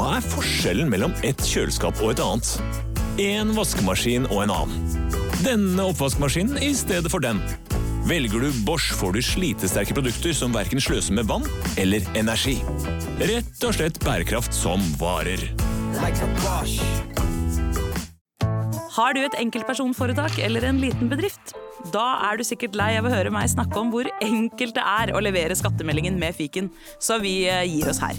er forskjellen mellom et kjøleskap og et annet? En vaskemaskin og en annen. Denne oppvaskmaskinen i stedet for den. Velger du Bosch, får du slitesterke produkter som verken sløser med vann eller energi. Rett og slett bærekraft som varer. Har du et enkeltpersonforetak eller en liten bedrift? Da er du sikkert lei av å høre meg snakke om hvor enkelt det er å levere skattemeldingen med fiken, så vi eh, gir oss her.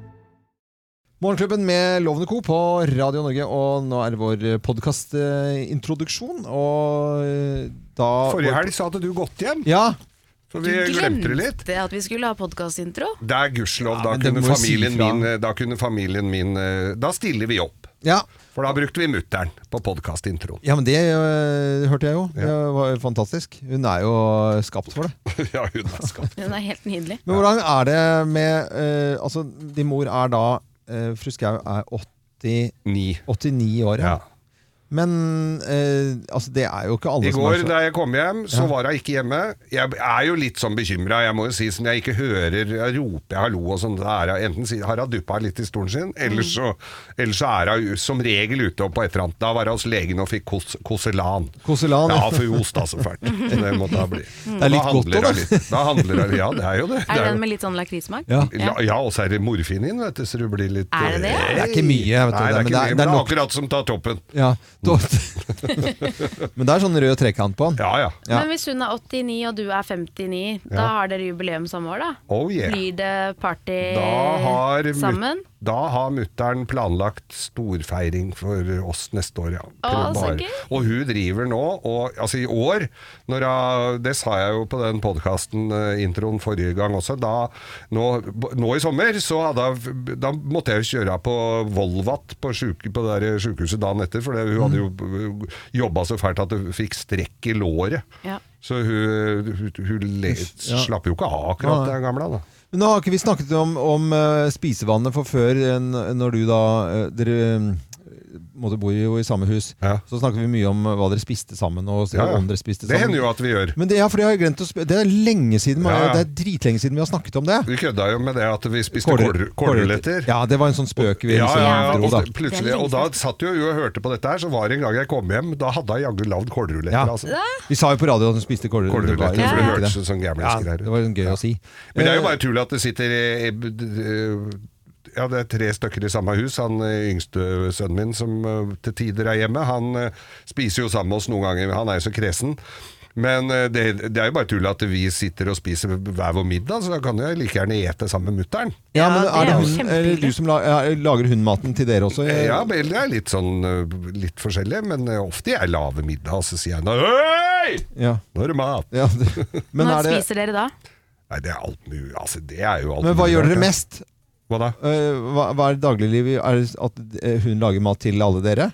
Morgenklubben med Lovende Co. på Radio Norge, og nå er det vår podkastintroduksjon. Og eh, da Forrige helg så hadde du gått hjem, Ja, så vi glemte det litt. at vi skulle ha podkastintro. Det er gudskjelov. Ja, Da, men det kunne må jo si familien fra. min, eh, da kunne familien min eh, Da stiller vi opp. ja. For da brukte vi mutter'n på podkastintroen. ja men det eh, hørte jeg jo. Det var jo fantastisk. Hun er jo skapt for det. ja, hun er skapt. Den er helt nydelig. Men hvordan er det med eh, Altså, din mor er da uh, Fru Skau er 80, Ni. 89 år. Ja. Men eh, altså, det er jo ikke alle I som går er så da jeg kom hjem, så var hun ikke hjemme. Jeg er jo litt sånn bekymra, jeg må jo si, som jeg ikke hører Jeg roper jeg hallo og sånn. da er hun- Enten si- har hun duppa litt i stolen sin, eller Mm. så, eller så er hun som regel ute og på et eller annet. Da var hun hos legen og fikk kos, koselan. Koselan, ja. Ja, for hun hosta så fælt. Så det måtte hun bli. er litt godt handler også, hun litt. Mm-hmm. Mm. Da handler hun Ja, det er jo Er det. det det er jo- den med litt sånn lakrissmak? Ja. Ja, ja og så er det morfin inn, vet du, så du blir litt Er det det? eh, Det er ikke mye, vet du, Nei, det er, men det er- ikke mye, det er men det er nok. akkurat som tar toppen. Ja, da, men det er sånn rød trekant på den. Ja, ja. Ja. Men hvis hun er 89 og du er 59, da har dere jubileum samme år, da? Oh yeah. Blir det party Da har, mut- sammen? da har mutteren planlagt storfeiring for oss neste år, ja. Å, så Bare- gøy. Og hun driver nå, og, altså i år, når hun, det sa jeg jo på den podkasten, introen forrige gang også, da, nå, nå i sommer, så hadde hun, da måtte jeg jo kjøre henne på Volvat på, syke, på det der sykehuset dagen etter, for det, hun hadde Mm. jo jobba så fælt at hun fikk strekk i låret. Ja. Så hun, hun, hun le, slapp jo ikke av akkurat, Nei. den gamle. da. Men nå har ikke vi snakket om, om eh, spisevannet for før, eh, n- når du da eh, Dere eh, måtte bo jo i samme hus. Ja. Så snakker vi mye om eh, hva dere spiste sammen, og s- Ja, ja. om dere spiste Det sammen. hender jo at vi gjør. Men det, ja, for det har jeg glemt å sp Det er lenge siden Ja, ja. Det er dritlenge siden vi har snakket om det. Vi kødda jo med det at vi spiste Kålru- kålru- kålruletter. Ja, det var en sånn spøk vi Ja, liksom ja, ja, dro, og, da. så plutselig, Det er og lenge da satt jo hun og hørte på dette her, så var det en gang jeg kom hjem, da hadde hun jaggu lagd kålruletter. Ja. Altså. Vi sa jo på radio at hun spiste kålruller. Kålruletter, var- for det gjorde ikke hørtes ut som Ja, gamlingsker det her. var gøy å si. Men det er jo Eh, bare tull at det sitter eh, eh, b- d- eh, ja, det er tre stykker i samme hus. Han eh, yngste sønnen min som eh, til tider er hjemme, han eh, spiser jo sammen med oss noen ganger. Han er jo så kresen. Men eh, det, det er jo bare tull at vi sitter og spiser hver vår middag, så da kan jeg like gjerne ete sammen med mutter'n. Ja, men Ja, er det det er jo hun, eller kjempehyggelig. du som la, ja, lager hun maten til dere også? Ja, vel, det er litt sånn ø, litt forskjellig, men ø, ofte jeg lager middag, og så sier jeg nå Hei! Ja. Nå er det mat! Ja, det, men, Hva er det, spiser dere da? Nei, det er alt mulig. Altså, det er jo alt men hva mulig gjør rart, dere ja. mest? Hva da? Eh, Hva, hva er dagliglivet? Er det at eh, hun lager mat til alle dere?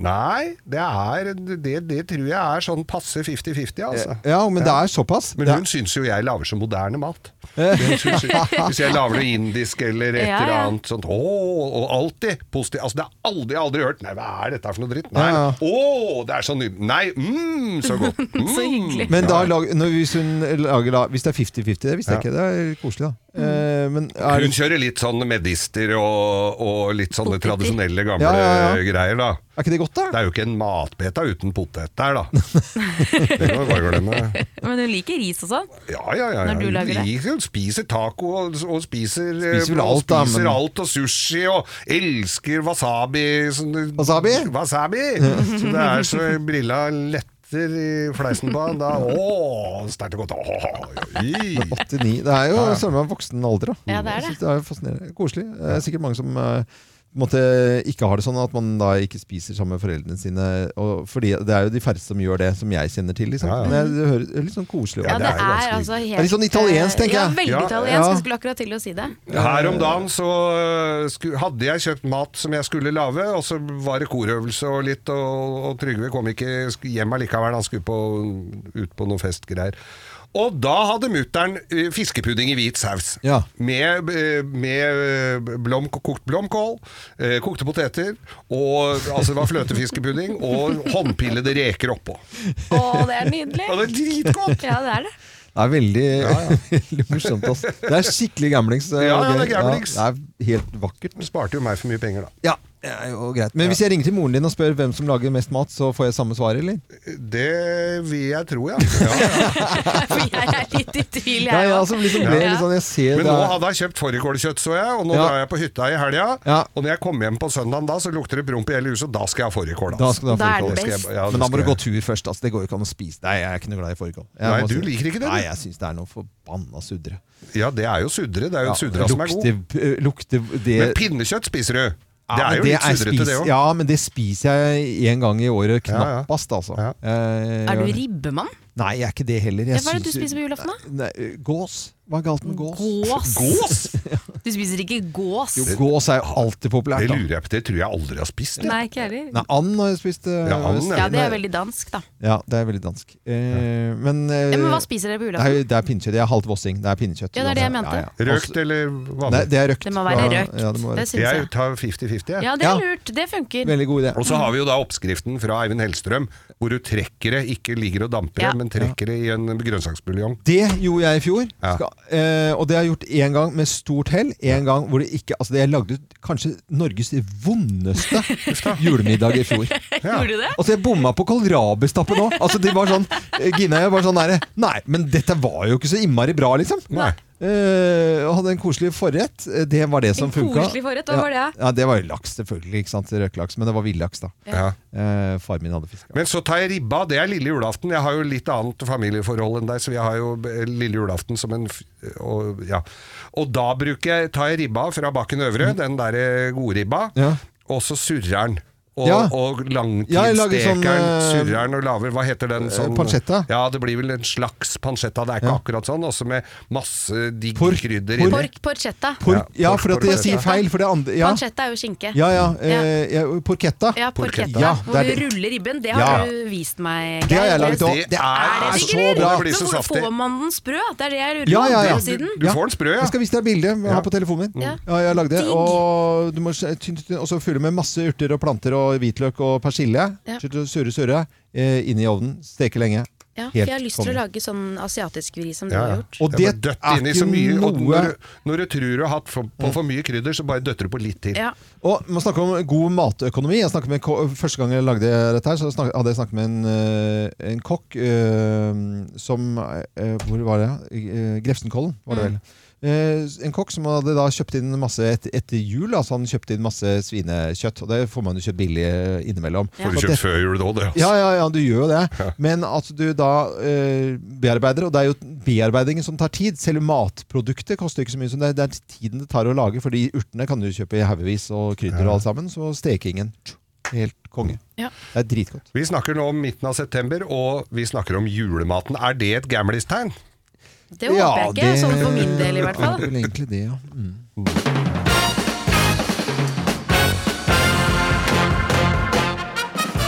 Nei, det er Det, det tror jeg er sånn passe 50-50, altså. Eh, Ja, men det er såpass. Men Det hun syns jo jeg lager så moderne mat. Hun synes jo, hvis jeg lager noe indisk eller et Ja, eller ja. annet sånt Å, og alltid positivt. Altså, det har aldri, aldri hørt Nei, hva er dette for noe dritt? Nei. Ja, ja. Å, det er så nydelig. Nei, mm, så godt. Mm. Så hyggelig. er- men da lag, når, hvis, hun lager, da- hvis det er 50-50, det visste jeg ikke. Det er koselig, da. Eh, men er Hun kjører litt sånn medister og, og litt sånne Poteter. tradisjonelle gamle Ja, ja, ja. greier, da. er ikke det godt, Det da? er jo ikke en matbeta uten potet der, da. Det kan du bare glemme. Men hun liker ris og sånn. Ja, ja, ja. ja. Når du lager det. Hun liker- spiser taco og, og spiser, eh, Spiser vel og alt, da, spiser men- alt, og sushi, og elsker wasabi. Sånn, Wasabi? Wasabi! Så det er så brilla letter i fleisen på han, da. Å, sterkt og godt. Å, i. 89. Det er jo søren meg voksen alder, da. Ja, det Jeg er det. synes det er fascinerende. Koselig. Det er sikkert mange som eh, på en måte ikke har det sånn at man da ikke spiser sammen med foreldrene sine. Og fordi Det er jo de færreste som gjør det, som jeg kjenner til. Liksom. Ja, ja. Men det høres det er litt sånn koselig ut. Ja, Ja, det det er jo er ganske altså helt er litt sånn italiensk, tenker Ja, jeg. veldig Ja. italiensk. Ja. Jeg skulle akkurat til å si det. Her om dagen så øh, sku, hadde jeg kjøpt mat som jeg skulle lage, og så var det korøvelse og litt, og, og Trygve kom ikke sk- hjem allikevel, han skulle på, ut på noen festgreier. Og da hadde mutter'n øh, fiskepudding i hvit saus. Ja. Med, øh, med øh, blomk- kokt blomkål, øh, kokte poteter, og altså det var fløtefiskepudding, og håndpillede reker oppå. Å, det er nydelig! Og det er dritgodt! Ja, det er det. Det er veldig, veldig morsomt. ass. Det er skikkelig gamblings. eh, Ja, ja, og det er gøy. gamblings. Ja, det er helt vakkert. Det sparte jo meg for mye penger, da. Ja, det er jo greit. Men hvis jeg ringer til moren din og spør hvem som lager mest mat, så får jeg samme svar, eller? Det vil jeg tro, ja. ja, ja. For jeg er litt i tvil, Ja, jeg ja, òg. altså, liksom, ble, litt sånn, jeg ser Men det nå er- hadde jeg kjøpt fårikålkjøtt, så jeg, og nå Ja. drar jeg på hytta i helga. Ja. Og når jeg kommer hjem på søndagen da, så lukter det promp i hele huset, og da skal jeg ha fårikål. altså. Da skal du ha Da er fårikål. det skal jeg- best. ja, det Men da må skal du gå jeg. tur først. Altså, det går jo ikke an å spise Nei, jeg er ikke noe glad i fårikål. Jeg Nei, må du si- liker ikke det, du? Nei, jeg syns det er noe forbanna suddre. Ja, det er jo suddere. Det er jo Ja, en suddere som er god. lukter- eh, lukter det Men pinnekjøtt spiser du. Ja, det er men jo litt sudrete, spis- det òg. Ja, men det spiser jeg én gang i året, Ja, ja. knappast, altså. Ja. Eh, Er du gjør det. ribbemann? Nei, jeg er ikke det heller. Jeg Hva er det du syns- spiser på julaften, da? Nei, eh, Gås. Hva er galt med gås? Gås! Gås! Du spiser ikke gås? Jo, gås er jo alltid populært. Det Da. lurer jeg på, det tror jeg aldri jeg har spist. jeg. Nei, ikke heller. Nei, and har jeg spist. eh, Ja, and, øst. Ja, det er veldig dansk, da. Ja, det er veldig dansk. Eh, men eh, Ja, men hva spiser dere på det, er, julaften? jo- det er pinnekjøtt. Jeg er halvt vossing. Det er pinnekjøtt. Ja, det er det jeg uansett. mente. Røkt eller Nei, vanlig? det er røkt. Det må være Ja, røkt. Ja, det må være Det røkt. syns jeg. Jeg tar 50-50, jeg. Ja, det er Ja. lurt. Det funker. Veldig god idé. Og så har vi jo da oppskriften fra Eivind Hellstrøm, hvor du trekker det, ikke ligger og damper det, Ja. men trekker det i en grønnsaksbuljong. Det gjorde jeg i fjor, Ja. skal, eh, og det har jeg gjort én gang med stort hell. En gang hvor det ikke Altså, det jeg lagde kanskje Norges vondeste julemiddag i fjor. Gjorde du det? Altså, jeg bomma på kålrabistappe nå. Altså, det var sånn eh, Gina og jeg var sånn derre Nei, men dette var jo ikke så innmari bra, liksom. Nei. Eh, og hadde en koselig forrett. Eh, Det var det som En funka. koselig forrett, hva var det? Ja, ja, det var jo laks, selvfølgelig. ikke sant? Røkelaks. Men det var villaks, da. Ja. Eh, far min hadde fiska. Men så tar jeg ribba, det er lille julaften. Jeg har jo litt annet familieforhold enn deg, så jeg har jo eh, lille julaften som en f- Og, ja. og da bruker jeg, tar jeg ribba fra Bakken Mm. Øvre, den derre godribba, Ja. og så surrer den. Og, Ja. og Ja, jeg lager langtidssteker sånn, den, eh, surrer den og laver Hva heter den? Sånn, pancetta? Ja, det blir vel en slags pancetta, det er ikke akkurat sånn. Også med masse digg Pork- krydder pork- inni. Pork porchetta. Pork, ja, pork- for at jeg porchetta. sier feil. For det andre Ja, Pancetta er jo skinke. ja. ja, eh, ja porchetta. Ja, porchetta. Ja, Hvor det er du det. ruller ribben. Det Ja. har du vist meg. Det har Geir. jeg laget òg. Det Det er er Er det så ikke lurt? bra! Det blir så Men saftig. hvordan får man den sprø? Det er det jeg lurer Ja, ja, ja. på. Siden. Du får den sprø, ja. Jeg skal vise deg bildet. Jeg Ja. har på telefonen min. Ja. Ja, jeg lagde det. Digg. Og du må skje- tynn, tynn, tynn, og så fylle med masse urter og planter og hvitløk og persille. Ja. Surre, surre, surre. Eh, inn i ovnen. Steke lenge. Ja, for Helt jeg har lyst til å konge. lage sånn asiatisk vri som Ja, du ja. har gjort. Og Ja, det men døtt er inni ikke så mye, og noe- Mm. når, du- når du tror du har hatt for, på for mye krydder, så bare døtter du på litt til. Ja. Og Man snakker om god matøkonomi. Jeg snakket med, en ko- første gang jeg lagde dette, her, så snak, hadde jeg snakket med en, eh, en kokk eh, som eh, Hvor var det? Uh, Grefsenkollen, var Mm. det vel. Eh, en kokk som hadde da kjøpt inn masse et, etter jul. Altså han kjøpte inn masse svinekjøtt. Og det får man jo kjøpt billig eh, innimellom. Får Og du det- kjøpt før jul da, det. altså. Ja, ja, ja, du gjør jo det. Men at du da eh, bearbeider, og det er jo bearbeidingen som tar tid. Selve matproduktet koster ikke så mye som det. Det er tiden det tar å lage, for de urtene kan du kjøpe i haugevis og krydder og alt sammen. Så stekingen helt konge. Ja. Det er dritgodt. Vi snakker nå om midten av september, og vi snakker om julematen. Er det et gamlistegn? Det håper jeg ikke, sånn for min del i hvert fall. Det er vel egentlig det, ja. Mm. Mm.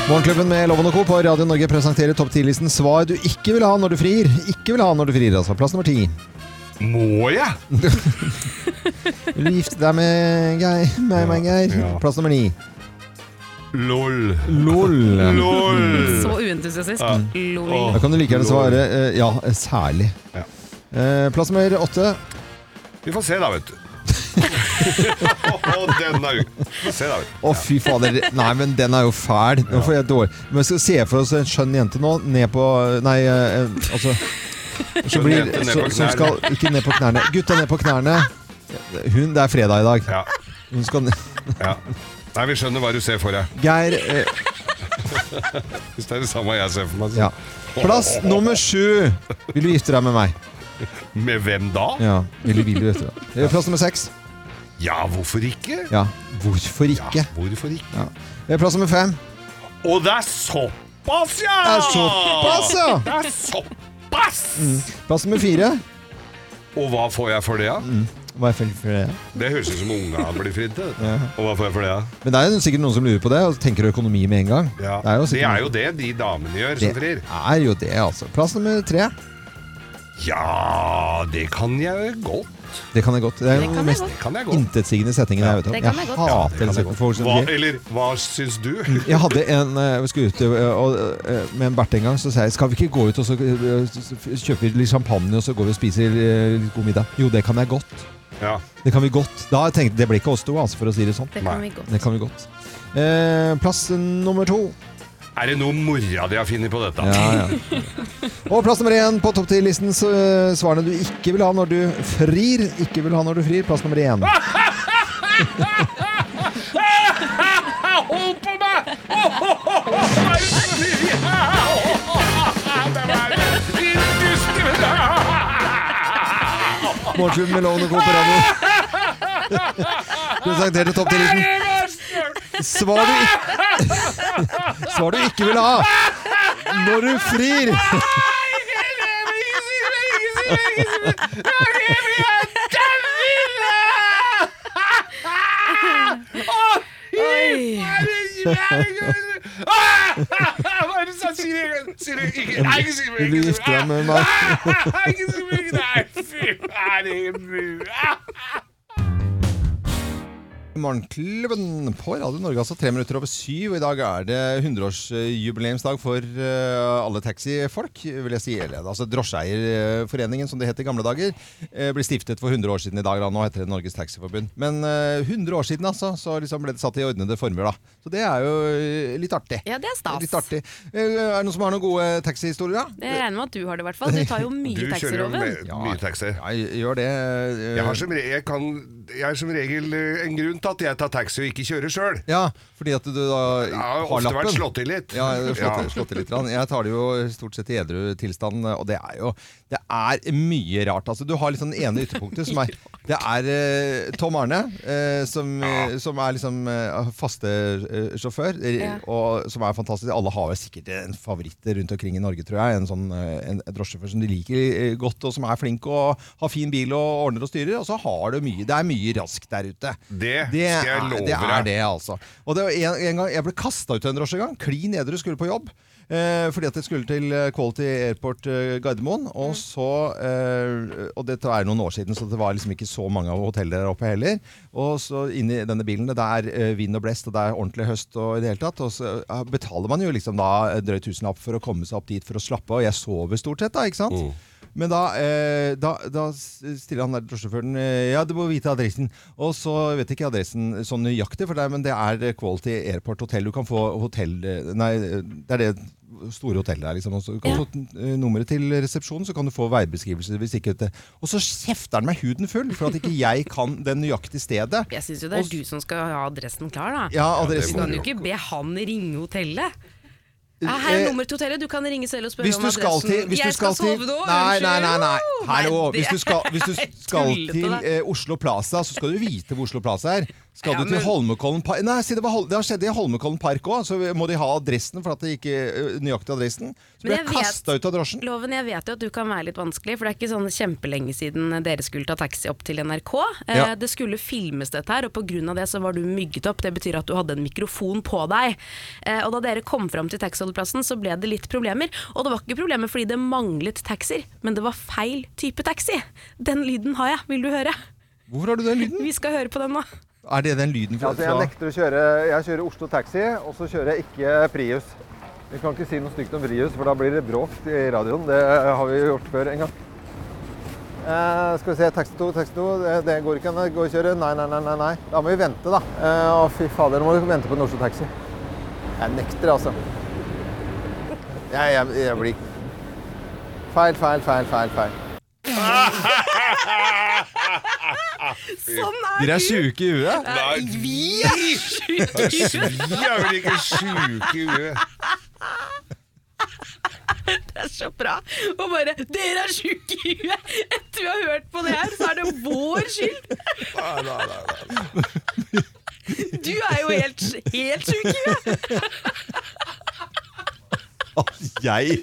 Morgenklubben med Loven og Co. på Radio Norge presenterer topp 10-listen svar du ikke vil ha når du frir. Ikke vil ha når du frir, altså. Plass nummer ti. Må jeg? Vil du gifte deg med Geir? Meg, meg, Geir. Ja. Plass nummer ni. LOL. LOL. LOL. Så uentusiastisk. Lol. Da kan du like gjerne svare eh, ja, særlig. Ja. Eh, Plass nummer åtte. Vi får se da, vet du. Å, Denne uka. Vi får se da, vet du. Å, fy fader. Nei, men den er jo fæl. Nå får jeg dårlig Men vi skal se for oss en skjønn jente nå, ned på Nei, eh, altså som, blir, jente ned på så, som knærne. skal Ikke ned på knærne. Gutta ned på knærne. Hun Det er fredag i dag. Ja, Hun skal ned ja. Nei, vi skjønner hva du ser for deg. Geir eh, Hvis det er det samme jeg ser for meg. så- Ja. Plass nummer sju. Vil du gifte deg med meg? Med hvem da? Ja. Eller vil du gifte deg? Eh, Plass nummer seks. Ja, hvorfor ikke? Ja, hvorfor Ja, ikke? hvorfor ikke? Ja. Eh, Plass nummer fem. Og det er såpass, ja! Det er såpass, ja! Det er såpass! Mm. Plass nummer fire. Mm. Og hva får jeg for det, da? Hva er feil for det? Det høres ut som unga blir fridd til. Og hva får jeg for det, da? Men det er jo sikkert noen som lurer på det, og tenker økonomi med en gang. Ja. Det er jo, det sikkert- er jo det de damene gjør som frir. det er jo det, altså. Plass nummer tre. Ja, det kan jeg godt. Det kan jeg godt. Det er jo Det kan den jeg mest godt. Det kan jeg godt. intetsigende setningen jeg vet om. Det Jeg kan jeg godt. Ja, hater det kan jeg sånne godt. folk som Hva, blir- eller hva syns du? Jeg hadde en eh, Vi skulle ut eh, og, eh, med en bert en gang, så sa jeg skal vi ikke gå ut og så eh, s- s- kjøper vi litt champagne og så går vi og spiser eh, litt god middag. Jo, det kan jeg godt. Ja. Det kan vi godt. Da tenkte jeg, Det ble ikke oss to, altså, for å si det sånn. Det kan Nei. vi godt. Det kan vi godt. Eh, plass nummer to. Er det noe mora di har funnet på dette? Ja, ja. Og plass nummer én på topp ti-listen. så, eh, Svarene du ikke vil ha når du frir. Ikke vil ha når du frir. Plass nummer én. Hold på meg! Morgenklubben med Lovende Co. på radio. Presenterte topp ti-listen. Svar du, ikke, svar du ikke vil ha når du frir. Vil du gifte deg med meg? Morgenklubben på Radio Norge, altså tre minutter over syv. Og I dag er det 100-årsjubileumsdag for eh, alle taxifolk, vil jeg si. Eller, altså Drosjeeierforeningen, som det het i gamle dager, eh, ble stiftet for 100 år siden i dag. Da. Nå heter det Norges Taxiforbund. Men eh, 100 år siden, altså, så liksom ble det satt i ordnede former, da. Så det er jo eh, litt artig. Ja, det er stas. Litt artig. Eh, Er det noen som har noen gode taxihistorier, da? Jeg regner med at du har det, i hvert fall. Du tar jo Du mye kjører jo taxiloven. med- mye taxi. Ja, gjør det. eh, Jeg har som, re jeg kan, jeg har som regel eh, en grunn til at jeg tar taxi og ikke kjører sjøl. Ja, fordi at du da Jeg har har lappen. ofte vært slått i litt. Ja, jeg har slått, Ja. slått i litt. grann. Jeg tar det jo stort sett i edru tilstand, og det er jo Det er mye rart. Altså, du har liksom det ene ytterpunktet, som er Det er eh, Tom Arne, eh, som, eh, som er liksom eh, faste eh, sjåfør, eh, Ja. og som er fantastisk. Alle har jo sikkert en favoritt rundt omkring i Norge, tror jeg. En sånn eh, en drosjesjåfør som de liker eh, godt, og som er flink og har fin bil og ordner og styrer. Og så har du mye. Det er mye raskt der ute. Det skal jeg love Det er deg. det, altså. Og det var en, en gang, jeg ble kasta ut av en drosje en gang. Klin edru skulle på jobb. Eh, fordi at jeg skulle til eh, Quality Airport eh, Gardermoen. Og så eh, Og dette er noen år siden, så det var liksom ikke så mange av hotellene der oppe heller. Og så inni denne bilen, det er eh, vind og blest, og det er ordentlig høst og i det hele tatt. Og så eh, betaler man jo liksom da eh, drøyt tusenlapp for å komme seg opp dit for å slappe av. Og jeg sover stort sett, da, ikke sant? Men da, eh, da, da stiller han der drosjesjåføren eh, Ja, du må vite adressen. Og så vet jeg ikke adressen sånn nøyaktig, for det, er- men det er eh, Quality Airport Hotel. Du kan få hotell eh, Nei, det er det store hotellet der, liksom. Og så kan du få eh, nummeret til resepsjonen, så kan du få veibeskrivelser hvis ikke det. Og så kjefter han meg huden full for at ikke jeg kan det nøyaktige stedet. Jeg syns jo det er du som skal ha adressen klar, da. Ja, Du adressen kan jo ikke be han ringe hotellet. Ja, her Eh, er nummeret til hotellet, du kan ringe selv og spørre Hvis du om skal adressen. til hvis du jeg skal, til- sove nå, Nei, nei, nei, nei. unnskyld. Hallo. Nei, Hvis du det- skal, hvis du skal Tullete, til det. eh, Oslo Plaza, så skal du vite hvor Oslo Plaza er. Skal Ja, du til men- Holmenkollen Park Nei, si det, var, Hol- det har skjedd i Holmenkollen Park òg, så må de ha adressen for at det ikke eh, nøyaktig adressen. Så Men ble jeg jeg vet- kasta ut av drosjen. Loven, jeg vet jo at du kan være litt vanskelig, for det er ikke sånn kjempelenge siden dere skulle ta taxi opp til NRK. Eh, Ja. Det skulle filmes dette her, og pga. det så var du mygget opp. Det betyr at du hadde en mikrofon på deg. Eh, Og da dere kom fram til taxiholdeplassen, så ble det litt problemer. Og det var ikke problemer fordi det manglet taxier, men det var feil type taxi. Den lyden har jeg, vil du høre? Hvorfor har du den lyden? Vi skal høre på den nå. Er det den lyden fra, Altså, jeg nekter å kjøre Jeg kjører Oslo Taxi, og så kjører jeg ikke Prius. Vi kan ikke si noe stygt om Prius, for da blir det bråk i radioen. Det eh, har vi gjort før en gang. Eh, skal vi se, taxi 2, taxi 2, det, det går ikke an å gå og kjøre. Nei, nei, nei, nei, nei. Da må vi vente, da. Eh, å, fy fader, nå må du vente på en Oslo Taxi. Jeg nekter, altså. Jeg, jeg, jeg blir Feil, feil, feil, feil, feil. Sånn Dere er er sjuke i huet? Vi er sjuke! Vi er vel ikke sjuke i huet? er så bra. Og bare 'Dere er sjuke i huet!' Etter vi har hørt på det her, så er det vår skyld! Du er jo helt, helt sjuk i huet! Jeg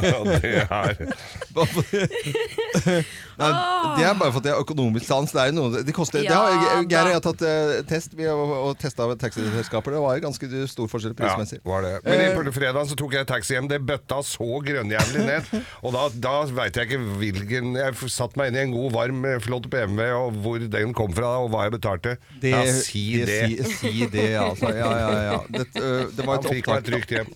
Ja, det er Nei, det er bare for at jeg har økonomisk sans. Det, er jo noe, det koster det har, Ja, jeg- Geir og jeg har tatt eh, test Vi har og testa av taxiselskaper. Det var jo ganske stor forskjell ja, prismessig. Eh, var det. Men på fredag så tok jeg taxi hjem. Det bøtta så grønnjævlig ned. Og da, da veit jeg ikke hvilken Jeg f- satt meg inn i en god, varm, eh, flott BMW, og hvor den kom fra, og hva jeg betalte. ja, si det. Si, si det, altså. Ja, ja, ja. Det, eh, det var Han et fikk meg opptak trygt hjem.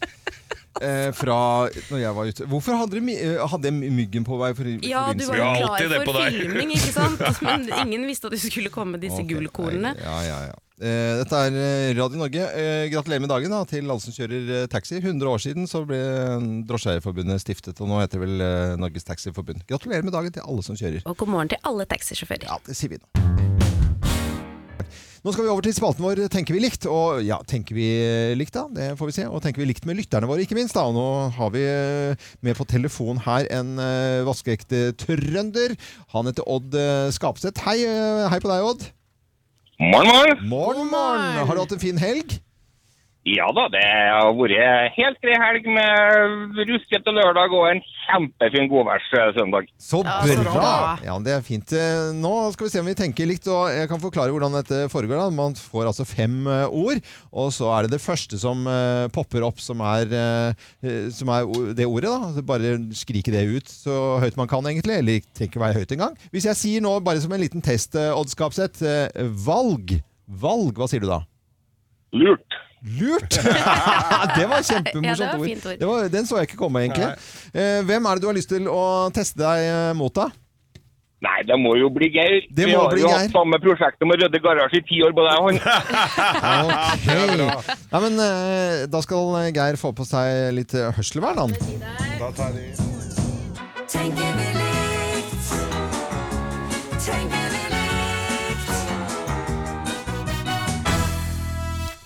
eh, fra når jeg var ute. Hvorfor hadde, dere mi- eh, hadde jeg myggen på vei? For, Ja, du var Vi jo har alltid klar det på for deg. filming, ikke sant? Men ingen visste at du skulle komme med disse Ok, gullkornene. nei, Ja, ja, ja. Eh, dette er eh, Radio Norge. Eh, gratulerer med dagen da, til alle som kjører eh, taxi. 100 år siden så ble eh, Drosjeeierforbundet stiftet, og nå heter det vel eh, Norges Taxiforbund. Gratulerer med dagen til alle som kjører. Og god morgen til alle taxisjåfører. Ja, det sier vi nå. Nå skal vi over til spalten vår Tenker vi likt. Og ja, tenker vi eh, likt, da? Det får vi se. Og tenker vi likt med lytterne våre, ikke minst. da. Og nå har vi eh, med på telefon her en eh, vaskeekte trønder. Han heter Odd eh, Skapseth. Hei, eh, hei på deg, Odd. Morgen, morgen. Morgen, morgen! Har du hatt en fin helg? Ja da, det har vært en helt grei helg med ruskete lørdag og en kjempefin eh, godværssøndag. Så bra! så bra. Ja, men Det er fint. Eh, Nå skal vi se om vi tenker likt. og Jeg kan forklare hvordan dette foregår. da. Man får altså fem eh, ord, og så er det det første som eh, popper opp, som er, eh, eh, som er o- det ordet. da. Altså Bare skrike det ut så høyt man kan, egentlig. Eller trenger ikke være høyt engang. Hvis jeg sier nå, bare som en liten test, eh, Odd Skapseth, eh, valg. Valg, hva sier du da? Lurt. Lurt! det var Ja, kjempemorsomt det var ord. fint ord. Det var, den så jeg ikke komme, egentlig. Eh, Hvem er det du har lyst til å teste deg eh, mot, da? Nei, det må jo bli Geir. Det Vi må har bli jo Geir. hatt samme prosjekt om å rydde garasje i ti år, både jeg og han. Ok. Ja, men eh, da skal Geir få på seg litt eh, hørselvern, han. Da tar de Tenker vi likt? Tenker vi likt?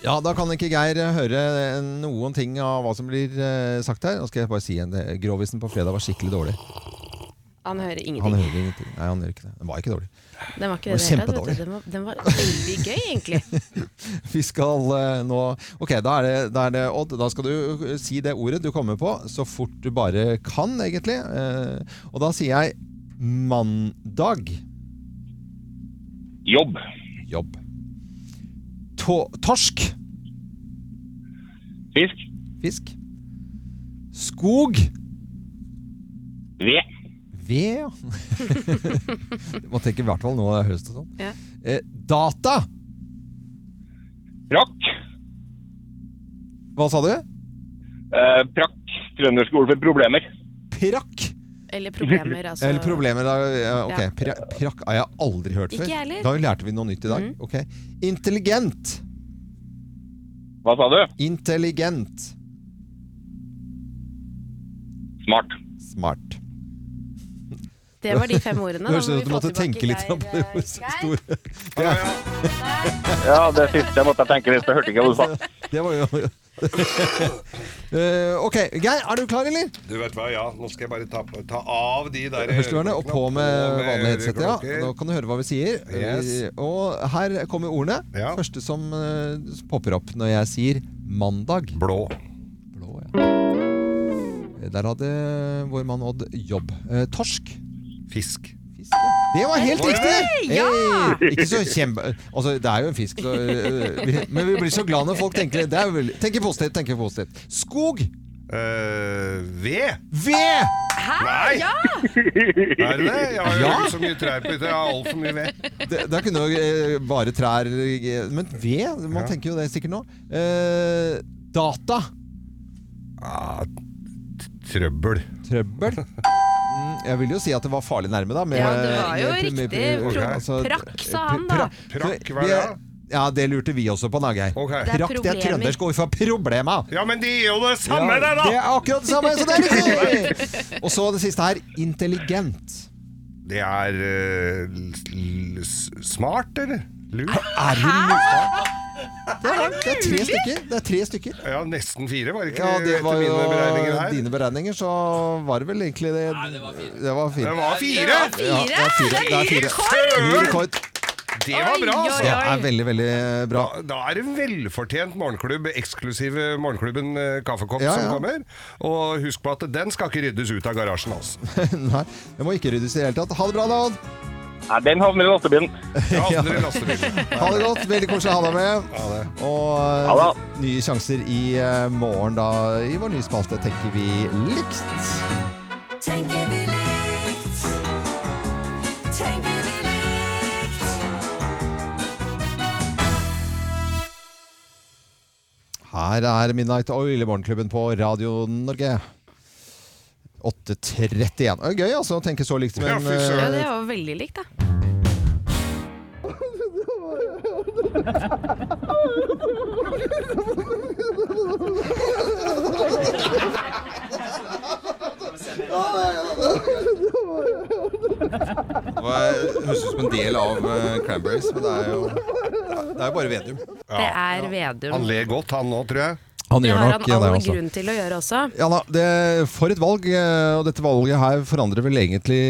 Ja, da kan ikke Geir eh, høre eh, noen ting av hva som blir eh, sagt her. Nå skal jeg bare si en eh, Grovisen på fredag var skikkelig dårlig. Han hører Han ingenting. hører ingenting. Nei, han gjør ikke det. Den var ikke dårlig. Den var var ikke det i det hele tatt, vet du. Den var, den var veldig gøy, egentlig. Vi skal eh, nå Ok, da er, det, da er det Odd. Da skal du eh, si det ordet du kommer på, så fort du bare kan, egentlig. Eh, Og da sier jeg mandag. Jobb. Jobb. To torsk. Fisk. Fisk. Skog. Ved. Ved, ja. Du må tenke i hvert fall nå er høst og sånn. Ja. Eh, data! Prakk. Hva sa du? Eh, prakk. Trønderskole for problemer. Prakk! Eller problemer, altså. Eller problemer da, ja, Ok, Ja. pra, prakk har jeg aldri hørt før. Ikke jeg heller. Mm. Da lærte vi noe nytt i dag. Ok. Intelligent. Hva sa du? Intelligent. Smart. Smart. Det var de fem ordene. Det høres da ut som må du vi få måtte tilbake tenke litt på det Geir, eh, ordet som sto. Ja, det siste måtte jeg tenke litt, jeg hørte ikke hva du sa. Det var jo Eh, Ok, Geir, er du klar, eller? Du vet hva, ja. Nå skal jeg bare ta, på- ta av de der Hørselvernet og på med vanlig headset. Ja. øreklokker. Nå kan du høre hva vi sier. Yes. Vi- Og her kommer ordene. Ja. Første som eh, popper opp når jeg sier mandag. Blå. Blå, ja. Der hadde vår mann Odd jobb. Eh, torsk. Fisk. Fisk, ja. Det var helt riktig! Ja! Hey! Ikke så kjempe... Altså, det er jo en fisk, så, eh, vi- men vi blir så glad når folk tenker det. det er vel, tenker positivt, tenker positivt. Skog. Eh, ved. Ved! Nei! Er det det? Jeg har jo Ja. ikke så mye trær på hytta. Jeg har altfor mye ved. Det- Der kunne jo eh, bare trær eh, Men ved? Man Ja. tenker jo det sikkert nå. Eh, data. Ah, t- trøbbel. Trøbbel. Mm, Jeg vil jo si at det var farlig nærme, da. med- eh, Ja, det var jo med- med- riktig. med- Pro- altså, prakk, sa han da. pra- Prakk, hva er vi det? er- Ja, det lurte vi også på, da, Geir. Ok. Det er Prakk det er problemer. trøndersk ord for problema. Ja, men de gjør jo det samme, Ja, det, da! det er akkurat det samme! Så det er riktig! Og så det siste her. Intelligent. Det er eh, l- l- s- smart, eller? Lurt? Er hun Det er, det er tre stykker. Det er tre stykker. Ja, nesten fire, var det ikke? Ja, det var etter jo mine beregninger her. dine beregninger, så var det vel egentlig det Nei, det var fire. Det var fire. Det var fire! Ja, det er fire. Det er fire. Ny rekord. Det var bra! altså. Det er veldig, veldig eh, bra. Da er det velfortjent morgenklubb, eksklusive morgenklubben eh, Kaffekopp Ja, ja. som kommer. Og husk på at den skal ikke ryddes ut av garasjen, altså. Nei, det må ikke ryddes i det hele tatt. Ha det bra, da, Odd. Nei, den havner i lastebilen. Ja, andre lastebil. Ha det godt. Veldig koselig å ha deg med. Ha det. Og Ha det. eh, nye sjanser i eh, morgen, da. I vår nye spalte tenker vi likt. Tenker vi likt? Tenker vi likt? Her er Midnight Oil i Morgenklubben på Radio Norge. 8.31. Det er Gøy altså å tenke så likt, Ja, men fy Ja, søren. eh, det var veldig likt, da. Det var- høres ut som en del av eh, Cranberries, men det er jo, det er jo bare Vedum. Det er Vedum. Han ler godt, han nå, tror jeg. han Det gjør har nok han all det også. grunn til å gjøre også. Ja da, det, For et valg, eh, og dette valget her forandrer vel egentlig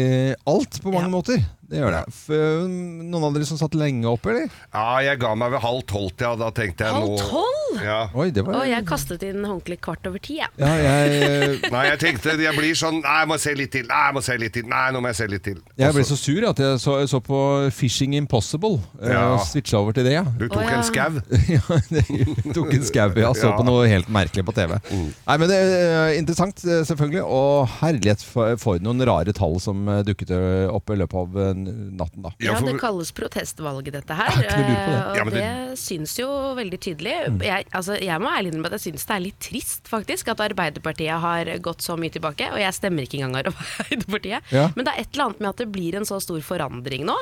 alt på mange måter. Det gjør det. F- eh, Noen av dere som satt lenge oppe, eller? Ja, jeg ga meg ved halv tolv, ja. Da tenkte jeg Halv nå tolv? Ja. Oi, det var Og jeg kastet inn håndkleet kvart over ti, jeg. Ja, jeg, Nei, jeg tenkte jeg blir sånn Nei, jeg må se litt til. Nei, jeg må se litt til. Nei, nå må jeg se litt til. jeg Og ble så sur at jeg så, jeg så på Fishing Impossible eh, Ja. og switcha over til det. Ja. Du tok Å, ja. en skau. ja, det tok en skau ja, så på noe helt merkelig på TV. Nei, men det er eh, interessant, eh, selvfølgelig. Og herlighet for, for noen rare tall som eh, dukket eh, opp i løpet av eh, natten, da. Ja, for- det kalles protestvalget, dette her. ikke noe lurt på det. eh, Og Ja, men det... det- syns jo veldig tydelig. Jeg, altså, jeg må ærlig innrømme at jeg syns det er litt trist, faktisk, at Arbeiderpartiet har gått så mye tilbake. Og jeg stemmer ikke engang Arbeiderpartiet. Ja. Mm. Men det er et eller annet med at det blir en så stor forandring nå,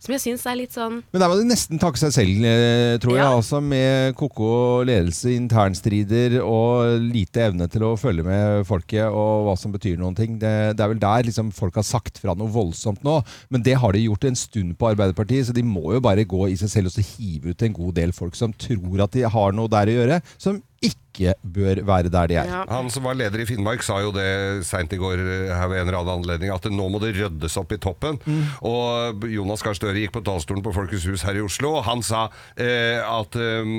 som jeg syns er litt sånn Men der må de nesten takke seg selv, eh, tror jeg. Ja. Altså, med koko ledelse, internstrider og lite evne til å følge med folket og hva som betyr noen ting. Det, det er vel der liksom, folk har sagt fra noe voldsomt nå. Men det har de gjort en stund på Arbeiderpartiet, så de må jo bare gå i seg selv og så hive ut en god del folk som tror at de har noe der å gjøre, som ikke bør være der de er. ja. Han som var leder i Finnmark sa jo det seint i går eh, her ved en eller annen anledning, at nå må det ryddes opp i toppen. Og Jonas Gahr Støre gikk på talerstolen på Folkets hus her i Oslo, og han sa eh, at eh,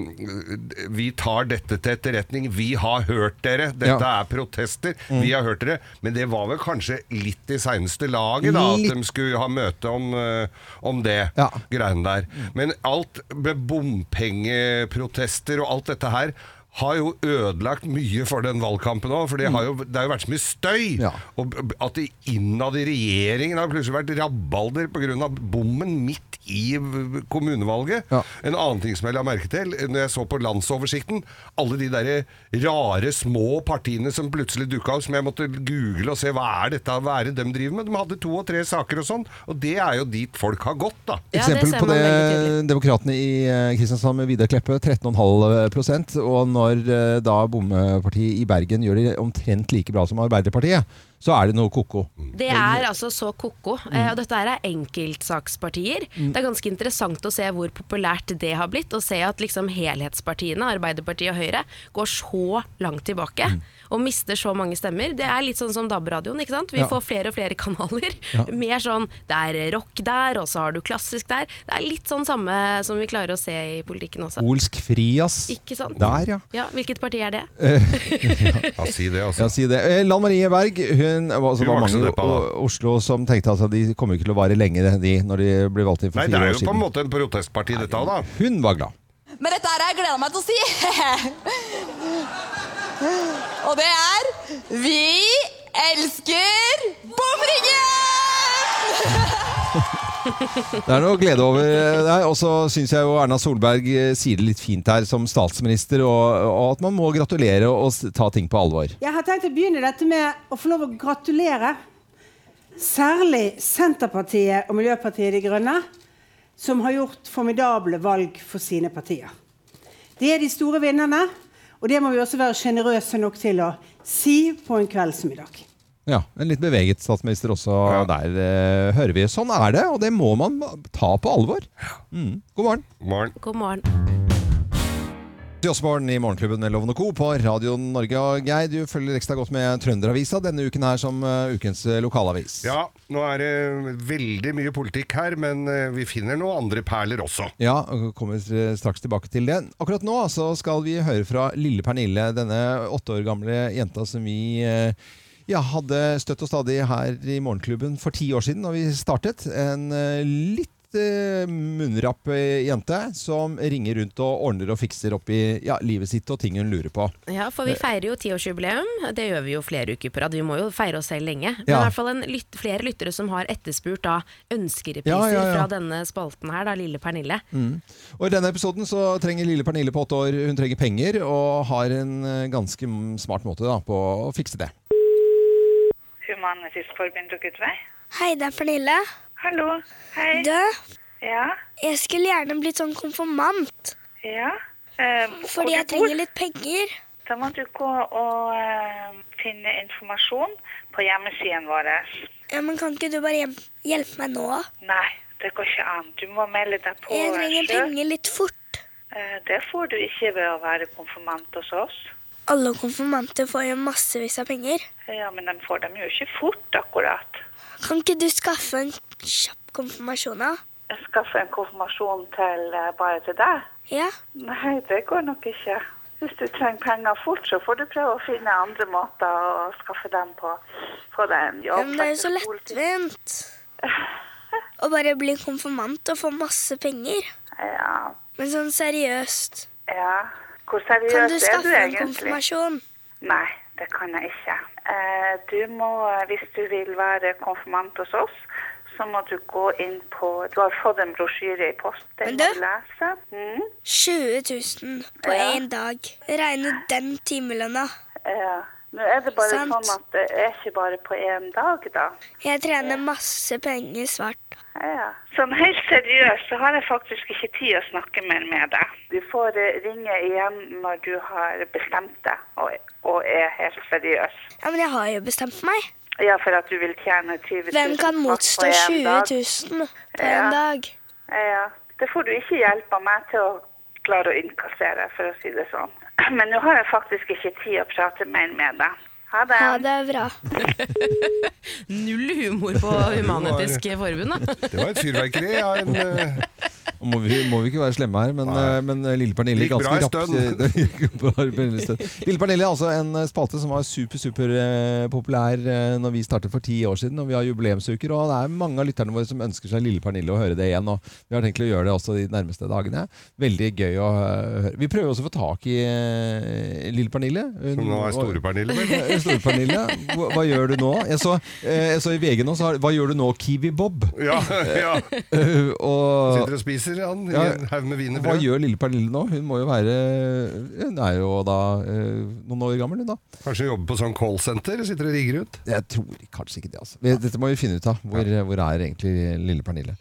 vi tar dette til etterretning, vi har hørt dere, dette Ja. er protester, vi har hørt dere. Men det var vel kanskje litt i seineste laget, da, at Litt. de skulle ha møte om, eh, om det Ja. greiene der. Men alt med bompengeprotester og alt dette her har jo ødelagt mye for den valgkampen òg, for det har jo, det har jo vært så mye støy. Mm. Ja. Og b- at det innad i regjeringen har plutselig vært rabalder pga. bommen midt i v- kommunevalget. Ja. En annen ting som jeg la merke til når jeg så på landsoversikten, alle de der rare små partiene som plutselig dukka opp, som jeg måtte google og se hva er dette, hva er det de driver med? De hadde to og tre saker og sånn, og det er jo dit folk har gått, da. Ja, det Eksempel ser på man veldig det tydelig. demokratene i eh, Kristiansand med Vidar Kleppe, 13,5 Og når eh, da bompartiet i Bergen gjør det omtrent like bra som Arbeiderpartiet, så er det noe ko-ko. Det er altså så ko-ko. Mm. eh, Og dette her er enkeltsakspartier. Det er ganske interessant å se hvor populært det har blitt. Og se at liksom helhetspartiene, Arbeiderpartiet og Høyre, går så langt tilbake. Mm. Og mister så mange stemmer. Det er litt sånn som DAB-radioen. ikke sant? Vi Ja. får flere og flere kanaler. Ja. Mer sånn det er rock der, og så har du klassisk der. Det er litt sånn samme som vi klarer å se i politikken også. Olsk fri, ass. Ikke sant? Der, ja. Ja, Hvilket parti er det? Ja, si det, altså. Ja, si det. Eh, Lan Marie Berg, hun altså, var Hun var ikke så mange i deppa, da. O- Oslo som tenkte at de kommer ikke til å vare lenge, de, når de blir valgt inn for Nei, det fire år er jo på en siden. måte en protestparti, dette òg, da. Hun var glad. Men dette her har jeg gleda meg til å si. Og det er Vi elsker bomringen! Det er noe glede over der. Og så syns jeg jo Erna Solberg eh, sier det litt fint her som statsminister, og, og at man må gratulere og s- ta ting på alvor. Jeg har tenkt å begynne dette med å få lov å gratulere særlig Senterpartiet og Miljøpartiet De Grønne, som har gjort formidable valg for sine partier. De er de store vinnerne, og det må vi også være sjenerøse nok til å si på en kveld som i dag. Ja, En litt beveget statsminister også der, eh, hører vi. Sånn er det, og det må man ta på alvor. Mm. God morgen. Morgen. God morgen. Jåssborn i Morgenklubben med Loven og Co. på Radio Norge. Og Geir, du følger ekstra godt med Trønderavisa denne uken her som eh, ukens eh, lokalavis. Ja, nå er det veldig mye politikk her, men eh, vi finner noen andre perler også. Ja, og kommer straks tilbake til det. Akkurat nå så skal vi høre fra lille Pernille, denne åtte år gamle jenta som vi eh, ja, hadde støtt og stadig her i Morgenklubben for ti år siden da vi startet. En eh, litt eh, munnrapp eh, jente som ringer rundt og ordner og fikser opp i ja, livet sitt og ting hun lurer på. Ja, for vi feirer jo tiårsjubileum. Det gjør vi jo flere uker på rad. Vi må jo feire oss selv lenge. Men Ja. i hvert fall en lyt flere lyttere som har etterspurt da ønskerepriser Ja, ja, ja. fra denne spalten her, da, Lille Pernille. Mm. Og I denne episoden så trenger lille Pernille på åtte år Hun trenger penger og har en eh, ganske mm, smart måte da, på å fikse det. Human-Etisk-forbund og Gudvei. Hei, det er Pernille. Hallo. Hei. Du, Ja. jeg skulle gjerne blitt sånn konfirmant. Ja. Eh, hvor Fordi jeg du bor? trenger litt penger. Da må du gå og eh, finne informasjon på hjemmesiden vår. Ja, men kan ikke du bare hjem- hjelpe meg nå? Nei, det går ikke an. Du må melde deg på. Jeg trenger selv. penger litt fort. Eh, det får du ikke ved å være konfirmant hos oss. Alle konfirmanter får jo massevis av penger. Ja, men de får dem jo ikke fort, akkurat. Kan ikke du skaffe en kjapp konfirmasjon, da? Jeg skaffer en konfirmasjon til, eh, bare til deg. Ja. Nei, det går nok ikke. Hvis du trenger penger fort, så får du prøve å finne andre måter å skaffe dem på. Få deg en Ja, jobb. men det er jo så lettvint. Å bare bli konfirmant og få masse penger. Ja. Men sånn seriøst. Ja. Hvor Kan seriøs du er du skaffe en egentlig? konfirmasjon? Nei, det kan jeg ikke. Eh, Du må, eh, hvis du vil være konfirmant hos oss, så må du gå inn på Du har fått en brosjyre i posten. Den må du lese. Mm. 20 000 på Ja. én dag. Regne ut den timelønna. Ja. Nå er det bare Sant. sånn at det er ikke bare på én dag, da. Jeg trener masse penger svart. Ja. Sånn helt seriøst så har jeg faktisk ikke tid å snakke mer med deg. Du får eh, ringe igjen når du har bestemt deg og, og er helt seriøs. Ja, Men jeg har jo bestemt meg. Ja, for at du vil tjene 20 000 Hvem kan på- på motstå en 20 dag. 000 på Ja. en dag? Ja, det får du ikke hjelp av meg til å klare å innkassere, for å si det sånn. Men nå har jeg faktisk ikke tid å prate mer med deg. Ha det. Ja, det er bra. Null humor på Human-Etisk Forbund, da. Det var et fyrverkeri av en eh, Må vi, må vi ikke være slemme her, men, eh, men eh, Lille Pernille Gikk bra i rapt- stund. eh, Det gikk bra i Pernille stund. Lille Pernille er altså en eh, spalte som var super, super eh, populær eh, når vi startet for ti år siden, og vi har jubileumsuker, og det er mange av lytterne våre som ønsker seg Lille Pernille å høre det igjen, og vi har tenkt å gjøre det også de nærmeste dagene. Veldig gøy å eh, høre. Vi prøver også å få tak i eh, Lille Pernille. Hun- Som nå er Store Pernille, vel? Eh, Store Pernille. Hva, hva gjør du nå? Jeg så, eh, jeg så i VG nå, så har, hva gjør du nå, Kiwi Bob? Ja, ja. Eh, og, Sitter og spiser han i en haug med Hva wienerbrød. gjør lille Pernille nå? Hun må jo være Hun er jo da eh, noen år gammel, hun da. Kanskje jobber på sånn callsenter? Sitter og rigger ut? Jeg tror kanskje ikke det, altså. Vi- Dette må vi finne ut av. Hvor, hvor er egentlig lille Pernille?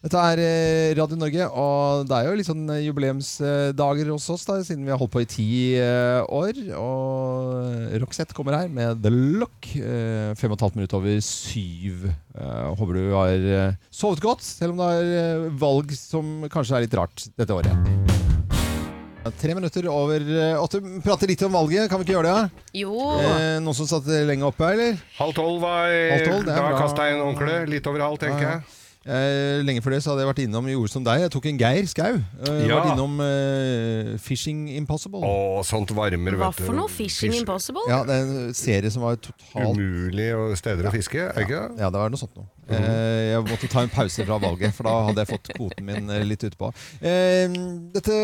Dette er eh, Radio Norge, og det er jo litt sånn eh, jubileumsdager hos oss, da, siden vi har holdt på i ti eh, år. Og Roxette kommer her med The Lock. eh, Fem og et halvt minutt over syv. Eh, Håper du har eh, sovet godt, selv om det er eh, valg som kanskje er litt rart dette året. Tre minutter over eh, åtte. Prate litt om valget, kan vi ikke gjøre det? ja? Jo. Eh, noen som satt lenge oppe, eller? Halv tolv var Halv tolv, det er Da bra. kasta jeg inn håndkle. Litt over halv, tenker Ja, ja. jeg. Eh, lenge før det så hadde jeg vært innom Gjorde som deg. Jeg tok en Geir Skau. Eh, Ja. Vært innom eh, Fishing Impossible. Å, sånt varmer, Hva vet du. for noe? Fishing Impossible? Ja, det er en serie som var totalt Umulig å- steder å fiske, er det ikke det? Mhm. Ja, det var noe sånt noe. Eh, jeg måtte ta en pause fra valget, for da hadde jeg fått kvoten min eh, litt utpå. Eh, dette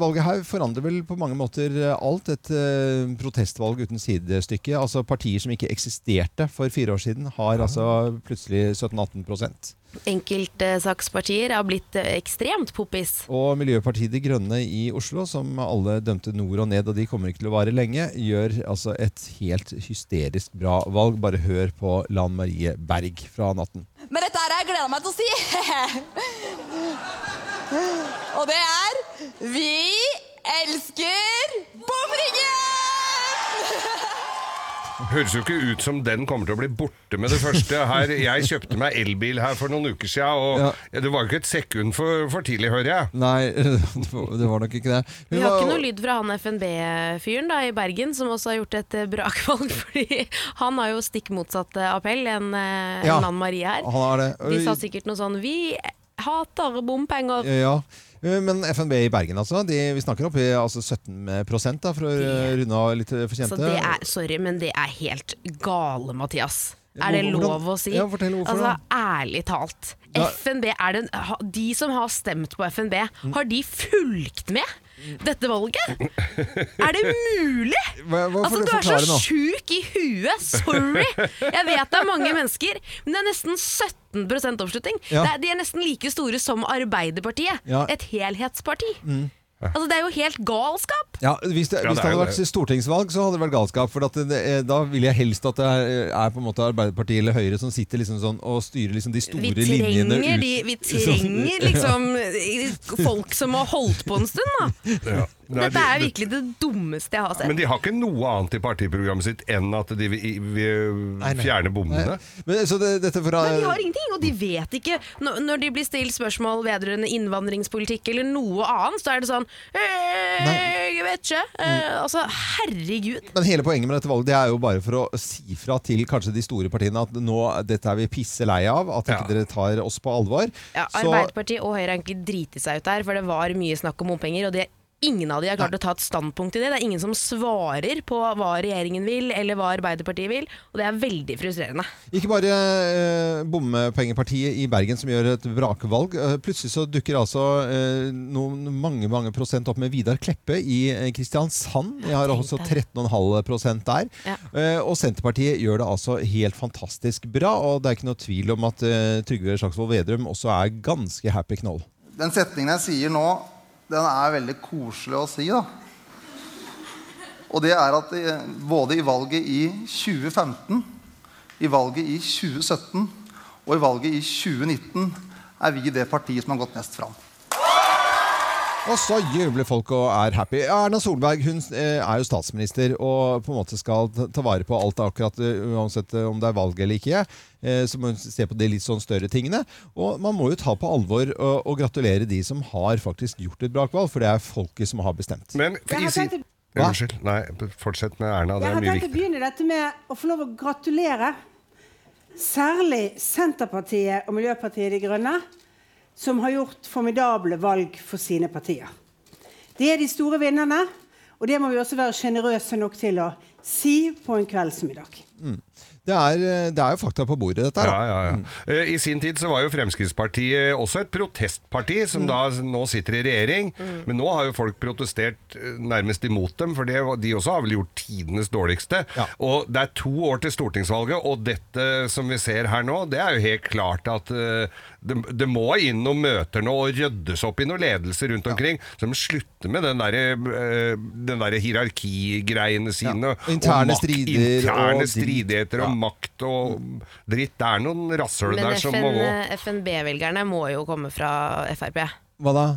valget her forandrer vel på mange måter eh, alt. Et eh, protestvalg uten sidestykke. Altså Partier som ikke eksisterte for fire år siden, Ah. har altså plutselig 17-18 Enkeltsakspartier har blitt eh, ekstremt poppis. Og Miljøpartiet De Grønne i Oslo, som alle dømte nord og ned, og de kommer ikke til å vare lenge, gjør altså et helt hysterisk bra valg. Bare hør på Lan Marie Berg fra natten. Men dette her har jeg gleda meg til å si. Og det er Vi elsker bomringen! Høres jo ikke ut som den kommer til å bli borte med det første. Her, jeg kjøpte meg elbil her for noen uker siden, og det var jo ikke et sekund for, for tidlig, hører jeg. Nei, det var nok ikke det. Vi har ikke noe lyd fra han FNB-fyren da i Bergen, som også har gjort et eh, brakvalg. Fordi han har jo stikk motsatt eh, appell enn eh, Ja, enn Anne Marie her. han har det. De sa sikkert noe sånn Vi hater bompenger. Ja, men FNB i Bergen, altså. De, vi snakker opp i altså 17 da, for å runde av litt Så fortjente. det er, sorry, men det er helt gale, Mathias. Er det Hvordan- lov å si? Ja, fortell hvorfor altså, da. Ærlig talt. Ja. FNB er den, ha- de som har stemt på FNB, Mm. har de fulgt med dette valget? Er det mulig?! Hva- hva får altså, du du er forklare så nå? sjuk i huet! Sorry! Jeg vet det er mange mennesker, men det er nesten 17 oppslutning. Ja. Det er, de er nesten like store som Arbeiderpartiet. Ja. Et helhetsparti. Mm. Altså, det er jo helt galskap! Ja, hvis det, Ja, det er hvis det hadde jo vært det. stortingsvalg, så hadde det vært galskap. For at det, det- da ville jeg helst at det er, er på en måte Arbeiderpartiet eller Høyre som sitter liksom sånn og styrer liksom de store Vi linjene trenger, ut. de, vi Sånn- trenger liksom folk som har holdt på en stund, da. Ja. Nei, Dette er de- virkelig det dummeste jeg har sett. Men de har ikke noe annet i partiprogrammet sitt enn at de vil, Nei, vil nei. fjerne bommene. Men, så det, dette fra, Nei, de har ingenting, og de vet ikke. Når, når de blir stilt spørsmål vedrørende innvandringspolitikk eller noe annet, så er det sånn «Eh, Jeg vet ikke. Mm. Eh, altså, herregud. men hele poenget med dette valget Det er jo bare for å si fra til kanskje de store partiene at nå, dette er vi pisse lei av. At ikke dere tar oss på alvor. Ja, så, Arbeiderpartiet og Høyre har egentlig driti seg ut der, for det var mye snakk om bompenger. og det Ingen av de har klart å ta et standpunkt i det. Det er ingen som svarer på hva regjeringen vil, eller hva Arbeiderpartiet vil, og det er veldig frustrerende. Ikke bare eh, bompengepartiet i Bergen som gjør et vrakvalg. Eh, plutselig så dukker altså eh, noen mange mange prosent opp med Vidar Kleppe i eh, Kristiansand. Jeg har også 13,5 prosent der. Eh, og Senterpartiet gjør det altså helt fantastisk bra. Og det er ikke noe tvil om at eh, Trygve Slagsvold Vedrum også er ganske happy knoll. Den setningen jeg sier nå, den er veldig koselig å si, da. Og det er at eh, både i valget i 2015, i valget i 2017 og i valget i 2019 er vi det partiet som har gått mest fram. Og så jubler folk og er happy. Erna Solberg hun eh, er jo statsminister og på en måte skal ta- ta vare på alt akkurat eh, uansett eh, om det er valg eller ikke. Eh, Så må hun se på de litt sånn større tingene. Og man må jo ta på alvor og, og gratulere de som har faktisk gjort et brakvalg, for det er folket som har bestemt. Men Jeg har i sin- tenkt å- Ja, Unnskyld. Nei, fortsett med Erna. Jeg Det er har tenkt mye å viktig. begynne dette med å få lov å gratulere særlig Senterpartiet og Miljøpartiet De Grønne, som har gjort formidable valg for sine partier. De er de store vinnerne, og det må vi også være sjenerøse nok til å si på en kveld som i dag. Mm. Det, er, eh, det er jo fakta på bordet, dette her. da. Ja, ja, ja. Eh, I sin tid så var jo Fremskrittspartiet også et protestparti, som da nå sitter i regjering. Men nå har jo folk protestert eh, nærmest imot dem, for det, de også har vel gjort tidenes dårligste. Og det er to år til stortingsvalget, og dette som vi ser her nå, det er jo helt klart at eh, det, det må inn noen møter nå og ryddes opp i noen ledelse rundt omkring, som slutter med den derre eh, den derre hierarkigreiene sine. og Interne makt- strider og interne dritt. stridigheter og Ja. makt og dritt. Det er noen rasshøl Men eh, der som må FN, gå. FNB-velgerne må jo komme fra Frp. Hva da?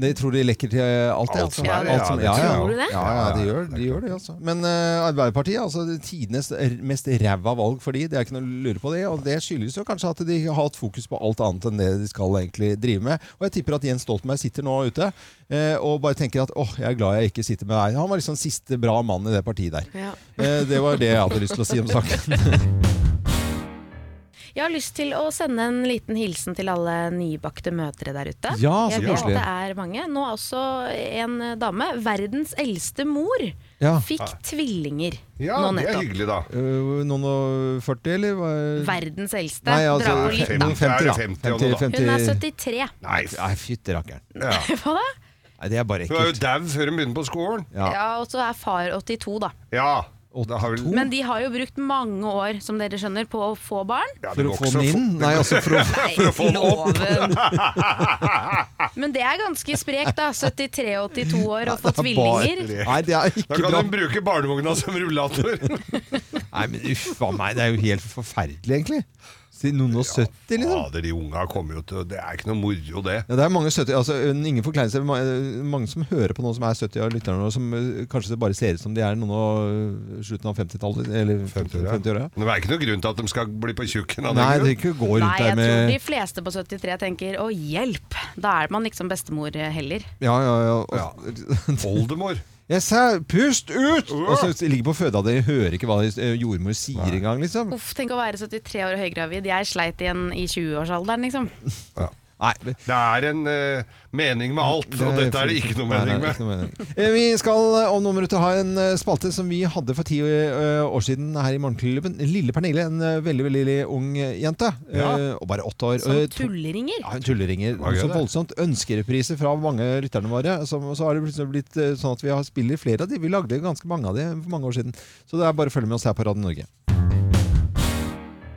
De tror de lekker til alt, altså. Alt som er, alt som, ja, ja, det ja. tror du det? Ja, ja, de gjør, de gjør det, altså. Men eh, Arbeiderpartiet, altså det tidenes r- mest ræva valg for de, det er ikke noe å lure på det, og det skyldes jo kanskje at de har hatt fokus på alt annet enn det de skal egentlig drive med. Og jeg tipper at Jens Stoltenberg sitter nå ute eh, og bare tenker at åh, jeg er glad jeg ikke sitter med deg. Han var liksom siste bra mann i det partiet der. Eh, det var det jeg hadde lyst til å si om saken. Jeg har lyst til å sende en liten hilsen til alle nybakte mødre der ute. Ja, så jeg vet koselig. det er mange. Nå er også en dame, verdens eldste mor, Ja. fikk tvillinger Ja, det er nå nettopp. hyggelig. Hyggelig, da. Eh, noen og 40, eller? hva er- Verdens eldste. Nei, altså, Dra på litt, noen da. 50, da. Er det 50 og noe, da? Hun er 73. Nei, f- nei, fytti rakkeren. Hva da? Nei, det er bare Hun er jo ekkelt. dau før hun begynner på skolen. Ja. og så er far 82, da. Ja. Da har vel... Men de har jo brukt mange år, som dere skjønner, på å få barn. Ja, For å det går få ikke den så inn? fort. Nei, altså for å, Nei, for å få den opp. loven. Men det er ganske sprekt, da. 73-82 år og få Det er bare- tvillinger. Nei, det er Da ikke kan bra. hun bruke barnevogna som rullator. Nei, men uff a meg, det er jo helt forferdelig, egentlig. Til noen og sytti, liksom? Fader, de unga kommer jo til Det er ikke noe moro, det. Ja, det er mange 70, altså en- Ingen forkleinelse. ma- eh, Mange som hører på noen som er 70 av lytterne, og som eh, kanskje det bare ser ut som de er noen av eh, slutten av 50-tallet. Eller 50-åra. 50 Men det er ikke noe grunn til at de skal bli på tjukken av den Nei, grunn. det er ikke å gå rundt Nei, jeg der med tror de fleste på 73 tenker 'å, hjelp'. Da er man liksom bestemor heller. Ja, ja, ja. Og- Oldemor. Jeg sa 'pust ut!' Og så ligger på fødeavdelingen, hører ikke hva eh, jordmor sier engang, liksom. Uff, tenk å være 73 år og høygravid. Jeg sleit igjen i 20-årsalderen, liksom. Det er en eh, mening med alt, og Det er dette er det ikke noe Nei, nei, mening med. ikke noe mening. Eh, Vi skal eh, om noen minutter ha en eh, spalte som vi hadde for ti eh, år siden her i Morgenklubben. Lille Pernille, en eh, veldig veldig, veldig ung eh, jente. eh, Ja. Og bare åtte år. Som Eh, to- tulleringer. Ja, hun tulleringer. Var gøy, Så det. voldsomt ønskerepriser fra mange lytterne våre. Så, så har det plutselig blitt eh, sånn at vi har spiller flere av de. Vi lagde ganske mange av de for mange år siden. Så det er bare å følge med oss her på Radio Norge.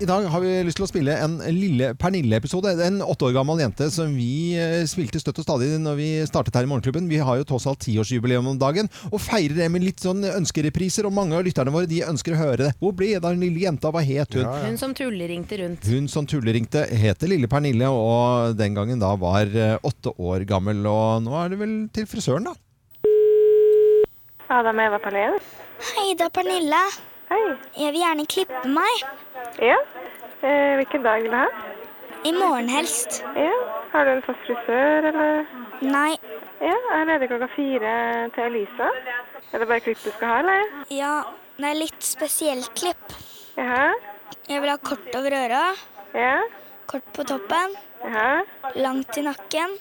I dag har vi lyst til å spille en lille Pernille-episode. Det er En åtte år gammel jente som vi eh, spilte støtt og stadig når vi startet her i Morgenklubben. Vi har jo tross alt tiårsjubileum om dagen, og feirer det med litt sånn ønskerepriser. Og mange av lytterne våre de ønsker å høre det. Hvor ble det av den lille jenta? Hva het hun? Hun som tulleringte rundt. Hun som tulleringte heter Lille Pernille, og den gangen da var eh, åtte år gammel. Og nå er det vel til frisøren, da. Ja, det er med Eva Pernille. Hei, det er Pernille. Hei. Jeg vil gjerne klippe meg. Ja. Eh, hvilken dag vil du ha? I morgen helst. Ja. Har du en fast frisør, eller? Nei. Ja, jeg er ledig klokka fire til Elisa. Er det bare klipp du skal ha, eller? Ja, det er litt spesielt klipp. Jaha. Jeg vil ha kort over øra. Ja. Kort på toppen. Jaha. Langt i nakken.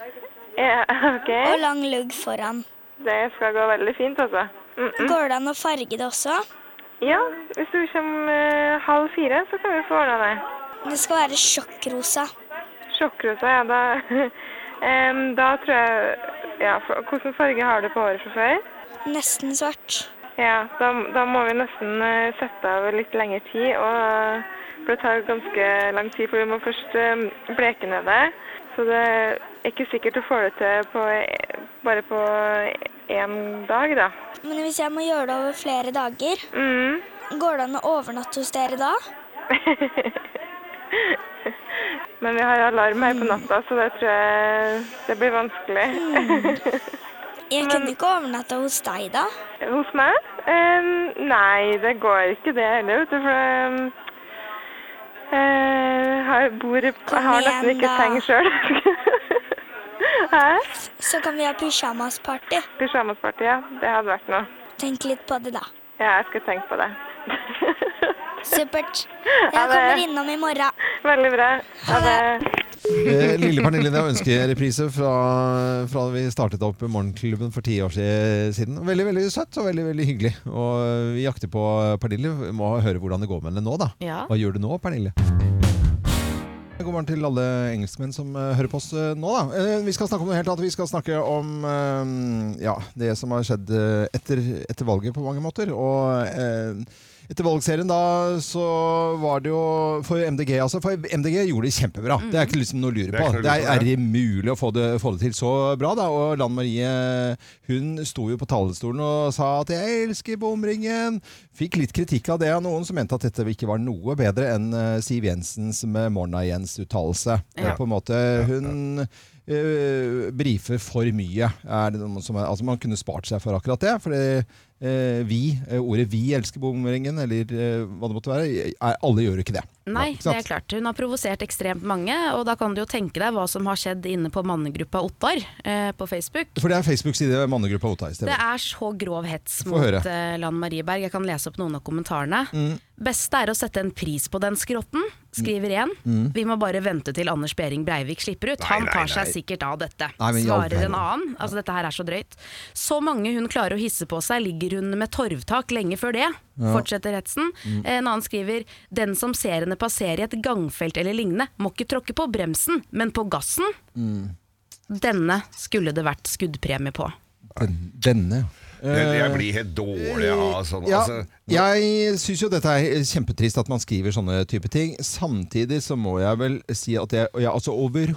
Ja, ok. Og lang lugg foran. Det skal gå veldig fint, altså. Mm -mm. Går det an å farge det også? Ja, hvis du kommer eh, halv fire, så kan vi få ordna det. Det skal være sjokkrosa. Sjokkrosa, ja. Da, Em, da tror jeg ja, for, Hvilken farge har du på håret fra før? Nesten svart. Ja, da, da må vi nesten eh, sette av litt lengre tid. Og, for det tar ganske lang tid, for vi må først eh, bleke ned det. Så det er ikke sikkert du får det til på, e, bare på én dag, da. Men hvis jeg må gjøre det over flere dager, Mm. går det an å overnatte hos dere da? Men vi har alarm Mm. her på natta, så det tror jeg det blir vanskelig. Mm. Jeg kunne ikke overnatta hos deg da. Hos meg? Em, nei, det går ikke det heller, vet du, for em, eh, har, bor, i- jeg har nesten igjen, ikke da. seng sjøl. Hæ? Så kan vi ha pysjamasparty. Pysjamasparty, ja. Det hadde vært noe. Tenk litt på det, da. Ja, jeg skal tenke på det. Supert. Jeg Ha det. kommer innom i morgen. Veldig bra. Ha det. Eh, Lille Pernille, det er ønskereprise fra, fra da vi startet opp Morgenklubben for ti år si- siden. Veldig veldig søtt og veldig veldig hyggelig. Og vi jakter på Pernille. Vi må høre hvordan det går med henne nå, da. Ja. Hva gjør du nå, Pernille? God morgen til alle engelskmenn som eh, hører på oss eh, nå. Da. Eh, vi skal snakke om noe helt annet. Vi skal snakke om eh, ja, det som har skjedd eh, etter, etter valget på mange måter. Og eh, etter valgserien da, så var det jo for MDG, altså. For MDG gjorde det kjempebra. Det er ikke liksom noe å lure Mhm. Det er ikke noe å på. Det lure på, er, er ja. det mulig å få det, få det til så bra, da? Og Lan Marie hun sto jo på talerstolen og sa at 'jeg elsker bomringen'. Fikk litt kritikk av det av noen som mente at dette ikke var noe bedre enn eh, Siv Jensens med Morna-Jens-uttalelse. Det er Ja. På en måte hun eh, brifer for mye. Er det noen som er, altså man kunne spart seg for akkurat det. For det, eh, vi, eh, ordet 'vi elsker bomringen', eller eh, hva det måtte være, er, alle gjør jo ikke det. Nei, Ikke det sant? er klart. Hun har provosert ekstremt mange, og da kan du jo tenke deg hva som har skjedd inne på mannegruppa Ottar eh, på Facebook. For det er Facebook-side mannegruppa Otta i stedet. Det er så grov hets Få mot høre. eh, Lan Marie Berg. Jeg kan lese opp noen av kommentarene. Mm. Beste er å sette en pris på den skrotten, skriver én. Mm. Vi må bare vente til Anders Behring Breivik slipper ut. Nei, Han tar nei, seg nei. sikkert av dette. Nei, men i all Svarer en verden. annen. Altså, dette her er så drøyt. Så mange hun klarer å hisse på seg, ligger hun med torvtak lenge før det. Ja. Fortsetter hetsen. Mm. En annen skriver Den som ser henne passere i et gangfelt eller lignende, må ikke tråkke på bremsen, men på gassen. mm. Denne skulle det vært skuddpremie på. Den- Denne. Jeg, jeg blir helt dårlig av sånn. Eh, Ja, Altså, jeg syns jo dette er kjempetrist at man skriver sånne type ting. Samtidig så må jeg vel si at jeg, og jeg altså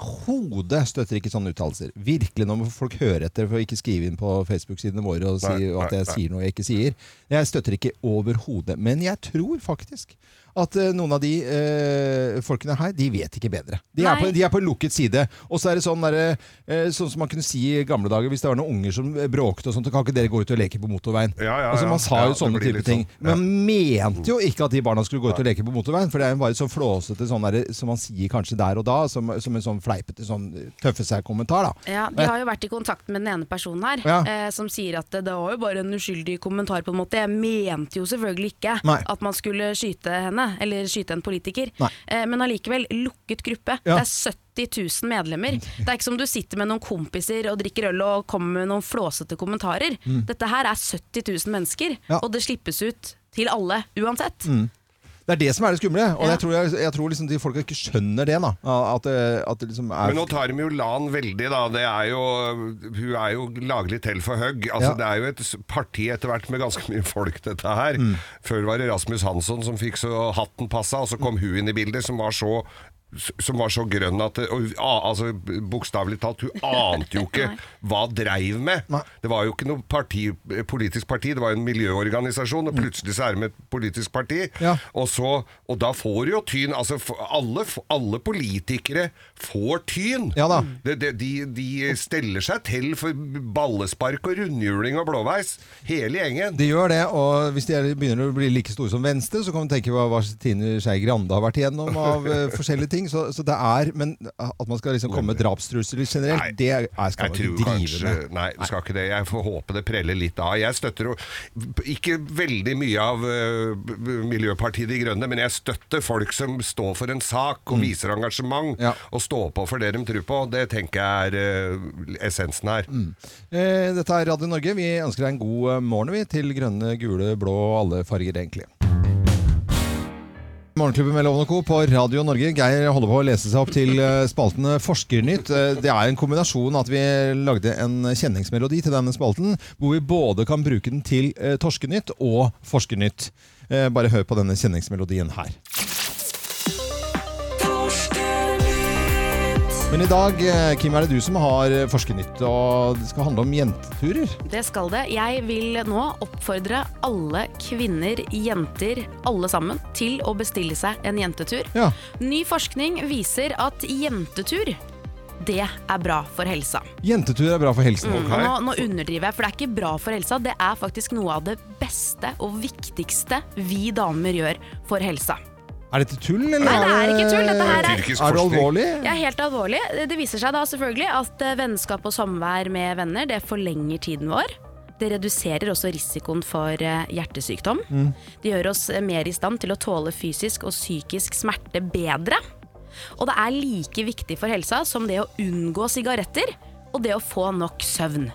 overhodet støtter ikke sånne uttalelser. Virkelig, nå må folk høre etter for å ikke skrive inn på Facebook-sidene våre og si Nei, at jeg nei, nei. sier noe jeg ikke sier. Jeg støtter ikke overhodet. Men jeg tror faktisk at eh, noen av de eh, folkene her, de vet ikke bedre. De er, Nei. på, de er på lukket side. Og så er det sånn, derre, eh, sånn som man kunne si i gamle dager hvis det var noen unger som bråkte og sånt, kan ikke dere gå ut og leke på motorveien? ja, altså, ja. man sa Ja, jo det sånne blir type litt ting. sånn, Men man mente jo ikke at de barna skulle gå ut og Nei. leke på motorveien, for det er jo bare sånn flåsete sånn derre- som man sier kanskje der og da, som, som en sånn fleipete sånn tøffe seg-kommentar, da. Ja, De har jo vært i kontakt med den ene personen her, Ja. eh, som sier at det var jo bare en uskyldig kommentar. på en måte. Jeg mente jo selvfølgelig ikke Nei. at man skulle skyte henne, eller skyte en politiker. Nei. Eh, men allikevel, lukket gruppe. Ja. Det er 70 000 medlemmer. Det er ikke som du sitter med noen kompiser og drikker øl og kommer med noen flåsete kommentarer. Mm. Dette her er 70 000 mennesker, Ja. og det slippes ut til alle uansett. Mm. Det er det som er det skumle. Og jeg tror, jeg, jeg tror liksom de folka ikke skjønner det. da At, det- at det liksom er Men nå tar de jo Lan veldig, da. Det er jo, hun er jo laglig til for hugg. Altså, Ja. Det er jo et s- parti etter hvert med ganske mye folk, dette her. Mm. Før var det Rasmus Hansson som fikk så hatten passa, og så kom hun inn i bildet, som var så som var så grønn at det- og, hun- a, altså, Bokstavelig talt, hun ante jo ikke hva dreiv med. Det var jo ikke noe parti, politisk parti, det var jo en miljøorganisasjon, og plutselig så er det med et politisk parti. Og, så, og da får du jo tyn. Altså, f- alle, f- alle politikere får tyn. Det- det- de, de steller seg til for ballespark og rundhjuling og blåveis, hele gjengen. De gjør det, og hvis de er, begynner å bli like store som Venstre, så kan du tenke på hva Tine Skei Grande har vært igjennom av eh, forskjellige ting. Så, så det er Men at man skal liksom komme med drapstrusler generelt, det er, skal Jeg man tror ikke drive kanskje med. Nei, det skal ikke det. Jeg får håpe det preller litt av. Jeg støtter jo ikke veldig mye av øh, b- b- Miljøpartiet De Grønne, men jeg støtter folk som står for en sak Mm. og viser engasjement, og står på for det de tror på. Det tenker jeg er øh, essensen her. Eh, Dette er Radio Norge. Vi ønsker deg en god eh, morgen, vi, til grønne, gule, blå og alle farger, egentlig. Morgenklubben med Loven og Co. på Radio Norge. Geir holder på å lese seg opp til eh, spaltene Forskernytt. Eh, Det er en kombinasjon at vi lagde en kjenningsmelodi til denne spalten, hvor vi både kan bruke den til eh, Torskenytt og Forskernytt. Eh, Bare hør på denne kjenningsmelodien her. Men i dag, eh, Kim, er det du som har eh, Forskernytt, og det skal handle om jenteturer. Det skal det. Jeg vil nå oppfordre alle kvinner, jenter, alle sammen, til å bestille seg en jentetur. Ny forskning viser at jentetur, det er bra for helsa. Jentetur er bra for helsen. Mm, og nå, nå underdriver jeg, for det er ikke bra for helsa. Det er faktisk noe av det beste og viktigste vi damer gjør for helsa. Er dette tull, eller? Nei, det er ikke tull. Dette her er, Er det alvorlig? Ja, helt alvorlig. Det viser seg da selvfølgelig at eh, vennskap og samvær med venner det forlenger tiden vår. Det reduserer også risikoen for eh, hjertesykdom. Mm. Det gjør oss eh, mer i stand til å tåle fysisk og psykisk smerte bedre. Og det er like viktig for helsa som det å unngå sigaretter og det å få nok søvn.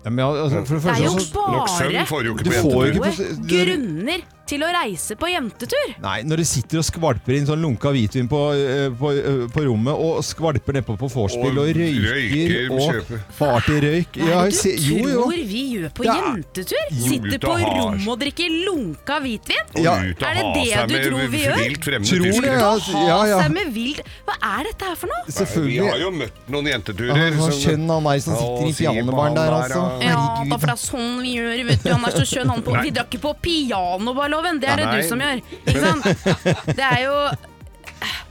Ja, men, altså, for det, Det første, er jo så- bare Du får jo ikke på- gode grunner til å reise på jentetur. Nei, når du sitter og skvalper inn sånn lunka hvitvin på, eh, på, eh, på rommet, og skvalper nedpå på vorspiel og, Og røyker, røyker, og kjøper. far til røyk Hva Ja, er se- det du jo, jo. tror vi gjør på Ja. jentetur? Jo, Sitter ut på og har. rom og drikker lunka hvitvin? Og Ja. ut og Er det ha det seg du med tror vi gjør? vilt fremmede Tror du tyskere? å Ja, ha ja. seg med vilt Hva er dette her for noe? Selvfølgelig. Vi har jo møtt noen jenteturer. Ja, hva som- skjønn han er som sitter i Å, Simon, pianobaren der, han altså. og- Ja, da, for det er sånn vi gjør, vet du. Han er så skjønn, han på Nei. Vi drar ikke på pianoballoven, det er det Nei. du som gjør. Ikke sant? Det er jo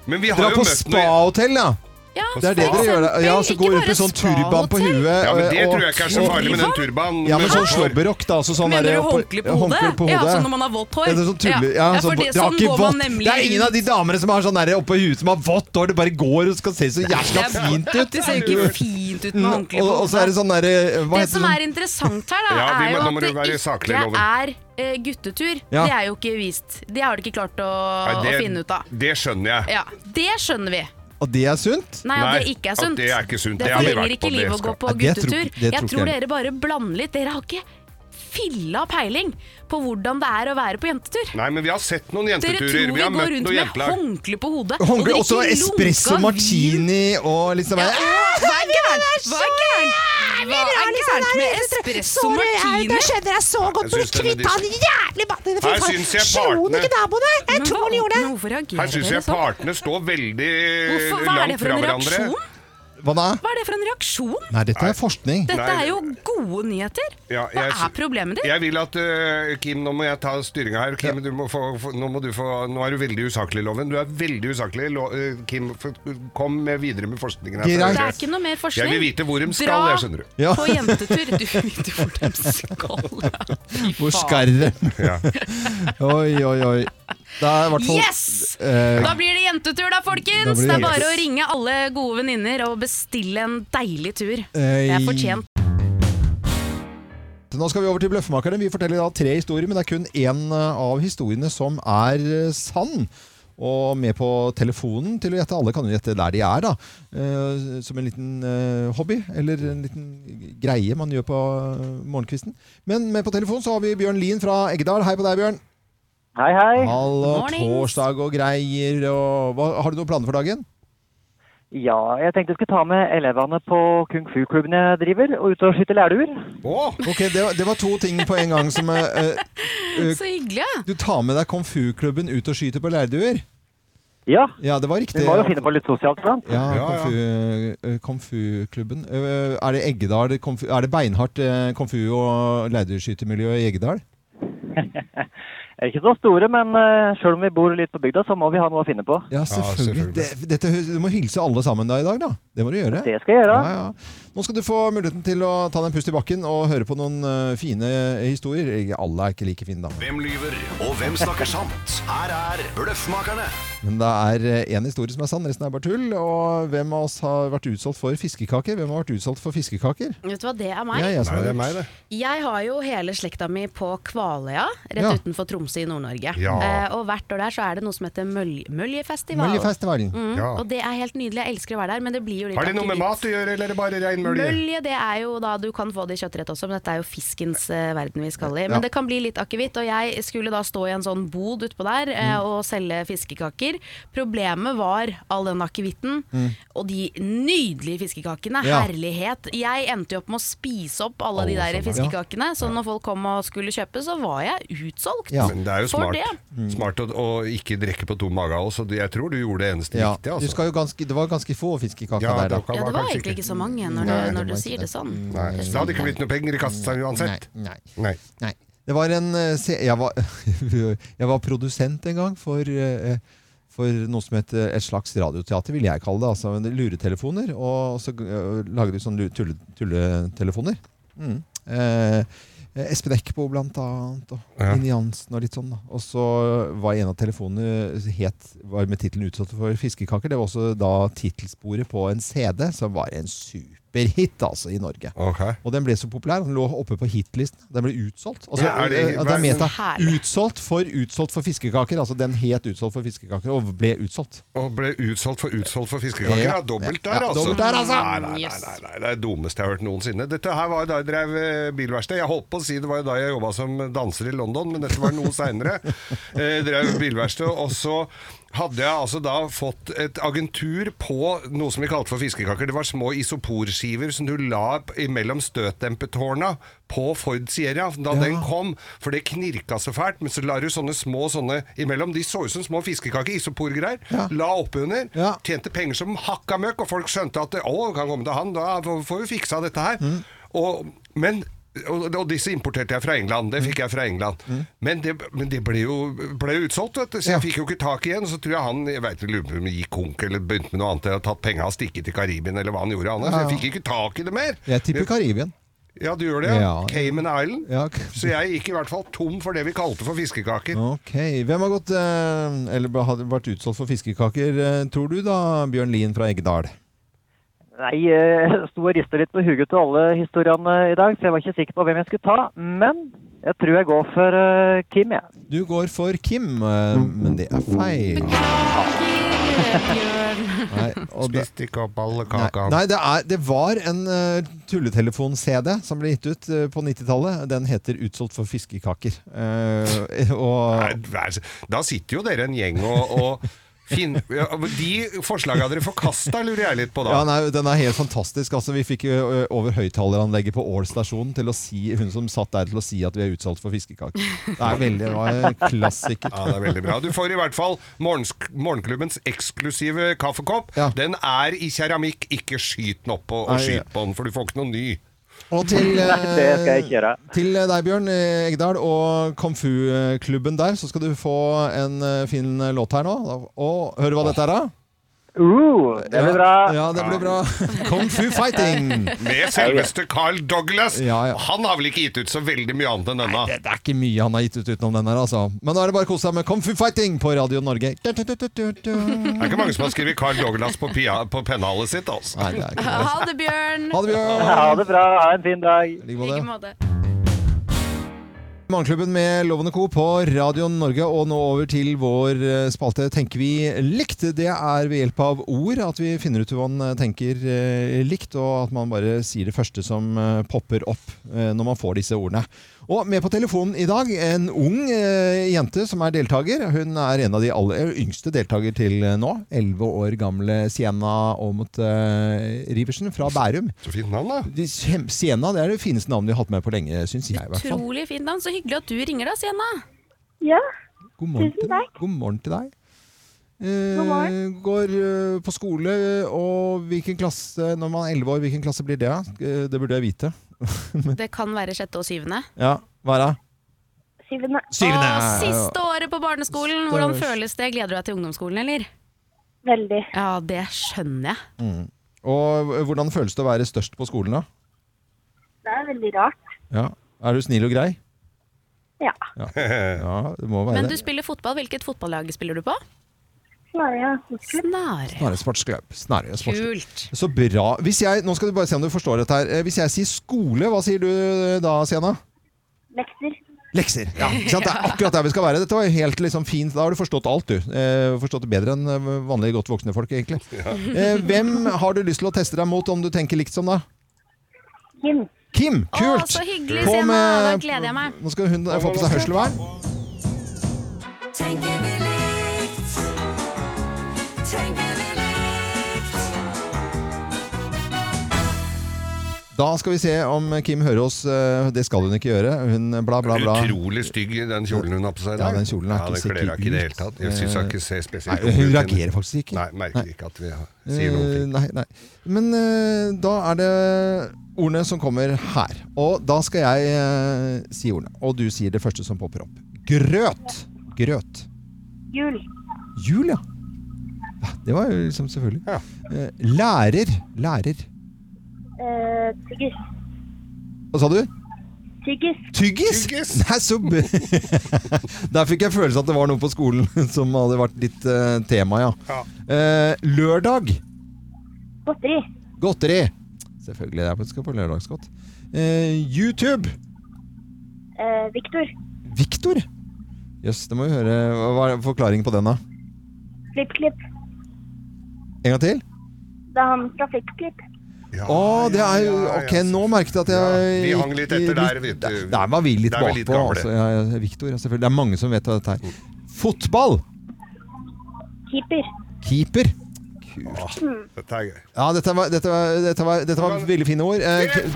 Men vi har Dra jo på møtt noen- spahotell, ja! Ja, Det er det dere gjør. da. Ja, så Ikke går rundt bare med sånn turban på spahotell. huet. eh, Ja, men det og- tror jeg ikke er så og- farlig med den turbanen. Ja, men Men sånn hår. slåberrock, da. Altså sånn Mener der- du håndkle på håndkle hodet? på Ja, hodet. sånn når man har vått hår. Ja, det er sånn tulle- ja, Ja, sånn, for det- det har sånn ikke går man vått. nemlig Det er ingen av de damene som har sånn der oppå huet som har vått hår. Det bare går og skal se så jævla Det er- fint ut. Det ser jo ikke fint ut med Mm, håndkle på og- Og så er det sånn derre Hva Det heter som det? er interessant her, da, Ja, vi er må- jo nå må at du det være saklig, ikke er Loven. eh, guttetur. Ja. Det er jo ikke vist. Det har de ikke klart å, Nei, det- å finne ut av. Det skjønner jeg. Ja, Det skjønner vi. Og det er sunt? Nei, at det ikke er sunt. At det er ikke sunt. Det Det har vi forlenger vært ikke på, det livet å gå skal- på Nei, det guttetur. tror- det tror jeg ikke tror jeg. dere bare blander litt. Dere har ikke filla peiling på hvordan det er å være på jentetur. Nei, men vi har sett noen Dere jenteturer. tror Vi vi har går møtt rundt noen med jentelag. håndkle på hodet og Håndkle, også drikker espresso lunka martini og liksom Ja, Hva er gærent? Hva er gærent? Vi drar Hva er liksom gærent der med ut, espresso sorry, jeg- martini? Da skjønner jeg så godt Jeg hvor synes den er kvitt han dis- jævlig mannen Her synes jeg partene- ikke naboene! Jeg tror han gjorde det! Hvorfor Her syns jeg partene står veldig Hvorfor- hva er langt det for fra en hverandre. reaksjon? Hva Ah. da? Hva er det for en reaksjon? Nei, dette er forskning. Dette er jo gode nyheter. Ja, Hva jeg- er problemet ditt? Jeg vil at øh, Kim, nå må jeg ta styringa her. Kim, du må få, få, nå, må du få, nå er du veldig usaklig, Loven. Du er veldig usaklig. Lo, øh, Kim, f- kom med videre med forskningen. Det Her, er ikke noe mer forskning. Jeg vil vite hvor de skal, Dra jeg skjønner du. på jentetur. Du vil vite hvor de skal. Hvor skarre. Ja. oi, oi, oi. Det er i hvert fall Yes! eh, Da blir det jentetur, da, Da folkens! blir det Det er bare jentetur. å ringe alle gode venninner og bestille en deilig tur. Eh, Det er fortjent. Nå skal vi over til Bløffmakerne. Vi forteller da tre historier, men det er kun én av historiene som er eh, sann. Og med på telefonen til å gjette. Alle kan jo gjette der de er, da. Eh, Som en liten eh, hobby, eller en liten greie man gjør på eh, morgenkvisten. Men med på telefonen så har vi Bjørn Lien fra Eggedal. Hei på deg, Bjørn. Hei, hei. Hallo, Mornings. torsdag og greier. Og hva, har du noen planer for dagen? Ja, jeg tenkte jeg skulle ta med elevene på kung fu-klubben jeg driver, og ut og skyte lærduer. Ok, det var, det var to ting på en gang som eh, eh, Så hyggelig. ja. Du tar med deg Kung Fu-klubben ut og skyter på leirduer? Ja. Ja, det var riktig. Vi må jo finne på litt sosialt, sant? Ja, Kung Fu- eh, Kung Fu-klubben. Eh, Er det Eggedal Kung Fu- Er det beinhardt eh, Kung Fu- og leirdueskytermiljø i Eggedal? Vi er Ikke så store, men eh, selv om vi bor litt på bygda, så må vi ha noe å finne på. Ja, selvfølgelig. Det, dette, hø- du må hilse alle sammen da i dag, da. Det må du gjøre. Det skal jeg gjøre. Ja, ja. Nå skal du få muligheten til å ta deg en pust i bakken og høre på noen eh, fine historier. Ikke- Alle er ikke like fine, da. Hvem lyver, og hvem snakker sant? Her er Bløffmakerne. Men det er én historie som er sann, resten er bare tull. Og hvem av oss har vært utsolgt for fiskekaker? Hvem har vært utsolgt for fiskekaker? Vet du hva, det er meg. Ja, jeg som Nei, har det er gjort. meg, det. Jeg har jo hele slekta mi på Kvaløya, rett Ja. utenfor Tromsø i Nord-Norge. Ja. Eh, og hvert år der så er det noe som heter Mølj Møljefestival. Møljefestivalen. Mm, Ja. Og det er helt nydelig, jeg elsker å være der, men det blir jo litt Har det noe med aktivit- mat å gjøre, eller er det bare rein mølje? Mølje, det er jo da du kan få det i kjøttrett også, men dette er jo fiskens eh, verden vi skal i. Men Ja. det kan bli litt akevitt, og jeg skulle da stå i en sånn bod utpå der eh, Mm. og selge fiskekaker. Problemet var all den akevitten Mm. og de nydelige fiskekakene. Ja. Herlighet! Jeg endte jo opp med å spise opp alle de Alle sånn, der sammen, ja. fiskekakene, så når folk kom og skulle kjøpe, så var jeg utsolgt Men det er jo for smart, det. Mm. smart å, å ikke drikke på tom mage også. Du- Jeg tror du gjorde det eneste Ja, riktige. du Altså. skal jo ganske, det var ganske få fiskekaker Ja, der, det da. kan- Ja, det var kanskje egentlig ikke. ikke så mange når du, Nei, det når var du ikke sier det sånn. Nei, det hadde ikke blitt noe penger i kassa uansett. Nei. Nei. Det var en eh, se, jeg, var, jeg var produsent en gang for, eh, for noe som het eh, et slags radioteater, vil jeg kalle det. Altså men det er luretelefoner. Og så eh, lager de sånne lu- tulle, tulletelefoner. Mm. Eh, Espen Eckbo blant annet, og Ja. Line Jansen og litt sånn. da. Og så var en av telefonene het, var med tittelen 'Utsatt for fiskekaker'. Det var også da tittelsporet på en CD, som var en superhit altså, i Norge. Og den ble så populær. Den lå oppe på hitlisten. Den ble utsolgt. Altså, Ja, er det- eh, det er meta. Herlig. Utsolgt for utsolgt for fiskekaker. Altså den het utsolgt for fiskekaker, og ble utsolgt. Og ble utsolgt for utsolgt for fiskekaker. Ja, Ja. dobbelt Ja, der, altså. dobbelt der, altså. Nei, nei, nei, nei, nei, det er det dummeste jeg har hørt noensinne. Dette her var da jeg drev eh, bilverksted. Jeg holdt på å si det var jo da jeg jobba som danser i London, men dette var noe seinere. Jeg drev bilverksted, og så hadde jeg altså da fått et agentur på noe som vi kalte for fiskekaker. Det var små isoporskiver som du la mellom støtdempetårna på Ford Sierra da Ja. den kom, for det knirka så fælt. Men så la du sånne små sånne imellom. De så ut som små fiskekaker, isoporgreier. La oppunder. Tjente penger som hakka møkk, og folk skjønte at å, kan komme til han, da får vi fiksa dette her. Mm. Og, men og, og disse importerte jeg fra England. Det Mm. fikk jeg fra England. Men det, men det ble jo ble jo utsolgt, vet du. Så jeg fikk jo ikke tak i en. Så tror jeg han jeg vet, ikke, lurer på om han gikk konk eller begynte med noe annet. Jeg har tatt penga og stikket til Karibien eller hva han gjorde. Han, Ja, Så ja. jeg fikk ikke tak i det mer. Jeg tipper Karibien. Ja, du gjør det. Ja. Ja. Cayman Island. Ja, Så jeg gikk i hvert fall tom for det vi kalte for fiskekaker. Ok, Hvem har gått, eh, eller har vært utsolgt for fiskekaker, eh, tror du da, Bjørn Lien fra Eggedal? Nei, eh, jeg sto og ristet litt på huget til alle historiene eh, i dag, så jeg var ikke sikker på hvem jeg skulle ta. Men jeg tror jeg går for eh, Kim, jeg. Du går for Kim, eh, men det er feil. Nei, og det- Spiste ikke opp alle Nei, kakene. nei det, er, det var en eh, tulletelefon-CD som ble gitt ut eh, på 90-tallet. Den heter 'Utsolgt for fiskekaker'. Eh, og Nei, vær så- Da sitter jo dere en gjeng og, og Fin, ja, men de forslagene dere forkasta, lurer jeg litt på da. Ja, nei, den er helt fantastisk. Altså, vi fikk ø, ø, over høyttaleranlegget på Ål stasjon til å si, hun som satt der til å si at vi er utsolgt for fiskekaker. Det er veldig det var en klassiker. Ja, det er veldig bra. Du får i hvert fall morgensk- morgenklubbens eksklusive kaffekopp. Den er i keramikk, ikke skyt den opp og, og Nei, ja. skyt på den, for du får ikke noe ny. Og til, eh, Nei, det skal jeg ikke gjøre. til deg, Bjørn eh, Egdal, og Kung Fu-klubben der, så skal du få en eh, fin låt her nå. Og hør du hva dette er, da? Uh, det blir bra. Ja, det blir bra. Kung Fu Fighting. Med selveste Carl Douglas. Ja, ja. Han har vel ikke gitt ut så veldig mye annet enn denne. Det er ikke mye han har gitt ut utenom den her, altså. Men nå er det bare å kose seg med Kung Fu Fighting på Radio Norge. Det er ikke mange som har skrevet Carl Douglas på, pia- på pennhalet sitt, altså. Ha det, Bjørn! Ha det, Bjørn. Ha det bra. Ha en fin dag. I like måte. Morgenklubben med Lovende Co. på Radio Norge, og nå over til vår eh, spalte Tenker vi likt. Det er ved hjelp av ord at vi finner ut hva man tenker eh, likt, og at man bare sier det første som eh, popper opp eh, når man får disse ordene. Og med på telefonen i dag en ung eh, jente som er deltaker. Hun er en av de aller eh, yngste deltaker til eh, nå. Elleve år gamle Sienna Aamodt eh, Riversen fra Bærum. Så fint navn, da. De, kjem- Sienna det er det fineste navnet de har hatt med på lenge, syns jeg. i hvert fall. Utrolig fint navn. Så hyggelig at du ringer, da, Sienna. Ja. God morgen Tusen til deg. God morgen til deg. Eh, God morgen. Går eh, på skole, og hvilken klasse Når man er 11 år, hvilken klasse blir det? da? Eh, Det burde jeg vite. Det kan være sjette og syvende. ja, hva er det? Syvende. Syvende. Å, siste året på barneskolen! Hvordan Stakkars. føles det? Gleder du deg til ungdomsskolen, eller? Veldig. Ja, det skjønner jeg. Mm. Og eh, hvordan føles det å være størst på skolen, da? Det er veldig rart. Ja. Er du snill og grei? Ja. Ja, ja det må være Men du det. spiller fotball. Hvilket fotballag spiller du på? Snarere. Snarøy. Snarere sportsklubb. Snarere sportsklubb. Kult. Så bra. Hvis jeg, nå skal du bare se om du forstår dette her. Eh, Hvis jeg sier skole, hva sier du eh, da, Sienna? Lekser. Lekser. Ja, ikke sant? Det er akkurat der vi skal være. Dette var jo helt liksom fint. Da har du forstått alt, du. Eh, forstått det bedre enn eh, vanlige godt voksne folk, egentlig. Eh, hvem har du lyst til å teste deg mot, om du tenker likt som da? Kim. Kim! Kult! så hyggelig, På Sienna. med- Da gleder jeg meg. Nå skal hun eh, få på seg hørselvern. Tenker vi likt? Tenker vi likt? Da skal vi se om Kim hører oss. Eh, Det skal hun ikke gjøre. Hun bla, bla, bla. Utrolig stygg i den kjolen hun har på seg i Ja, dag. den kjolen er Ja, ikke den så kler henne ikke i det kult. hele tatt. Jeg syns hun ikke ser spesielt Nei, ung hun ut. reagerer faktisk ikke. Nei, merker ikke at vi har- sier noe. Eh, nei, nei. Men eh, da er det ordene som kommer her. Og da skal jeg eh, si ordene. Og du sier det første som popper opp. Grøt. Grøt. Jul. Jul, ja. Ja, Det var jo liksom selvfølgelig. Eh, lærer. Lærer. Eh, tyggis. Hva sa du? Tyggis. Tyggis! Nei, så b Der fikk jeg følelsen at det var noe på skolen som hadde vært litt eh, tema, ja. Eh, lørdag. Godteri. Godteri. Selvfølgelig, det er- skal på lørdagsgodt. Eh, YouTube. Eh, Victor. Victor? Jøss, det må vi høre. Hva er forklaringen på den, da? FlippKlipp. En gang til? Det er han fra FlippKlipp. Å, det er jo Ok, nå merket jeg at jeg Vi hang litt etter der, vet du. Eh, Der var vi litt Der var vi litt bakpå. gamle. Altså, ja, ja, Victor, ja, selvfølgelig. Det er mange som vet av dette her. Fotball! Keeper. Keeper. Mm. Dette er gøy. Ja, dette var, dette var, dette var, dette var veldig fine ord. Eh, Ki-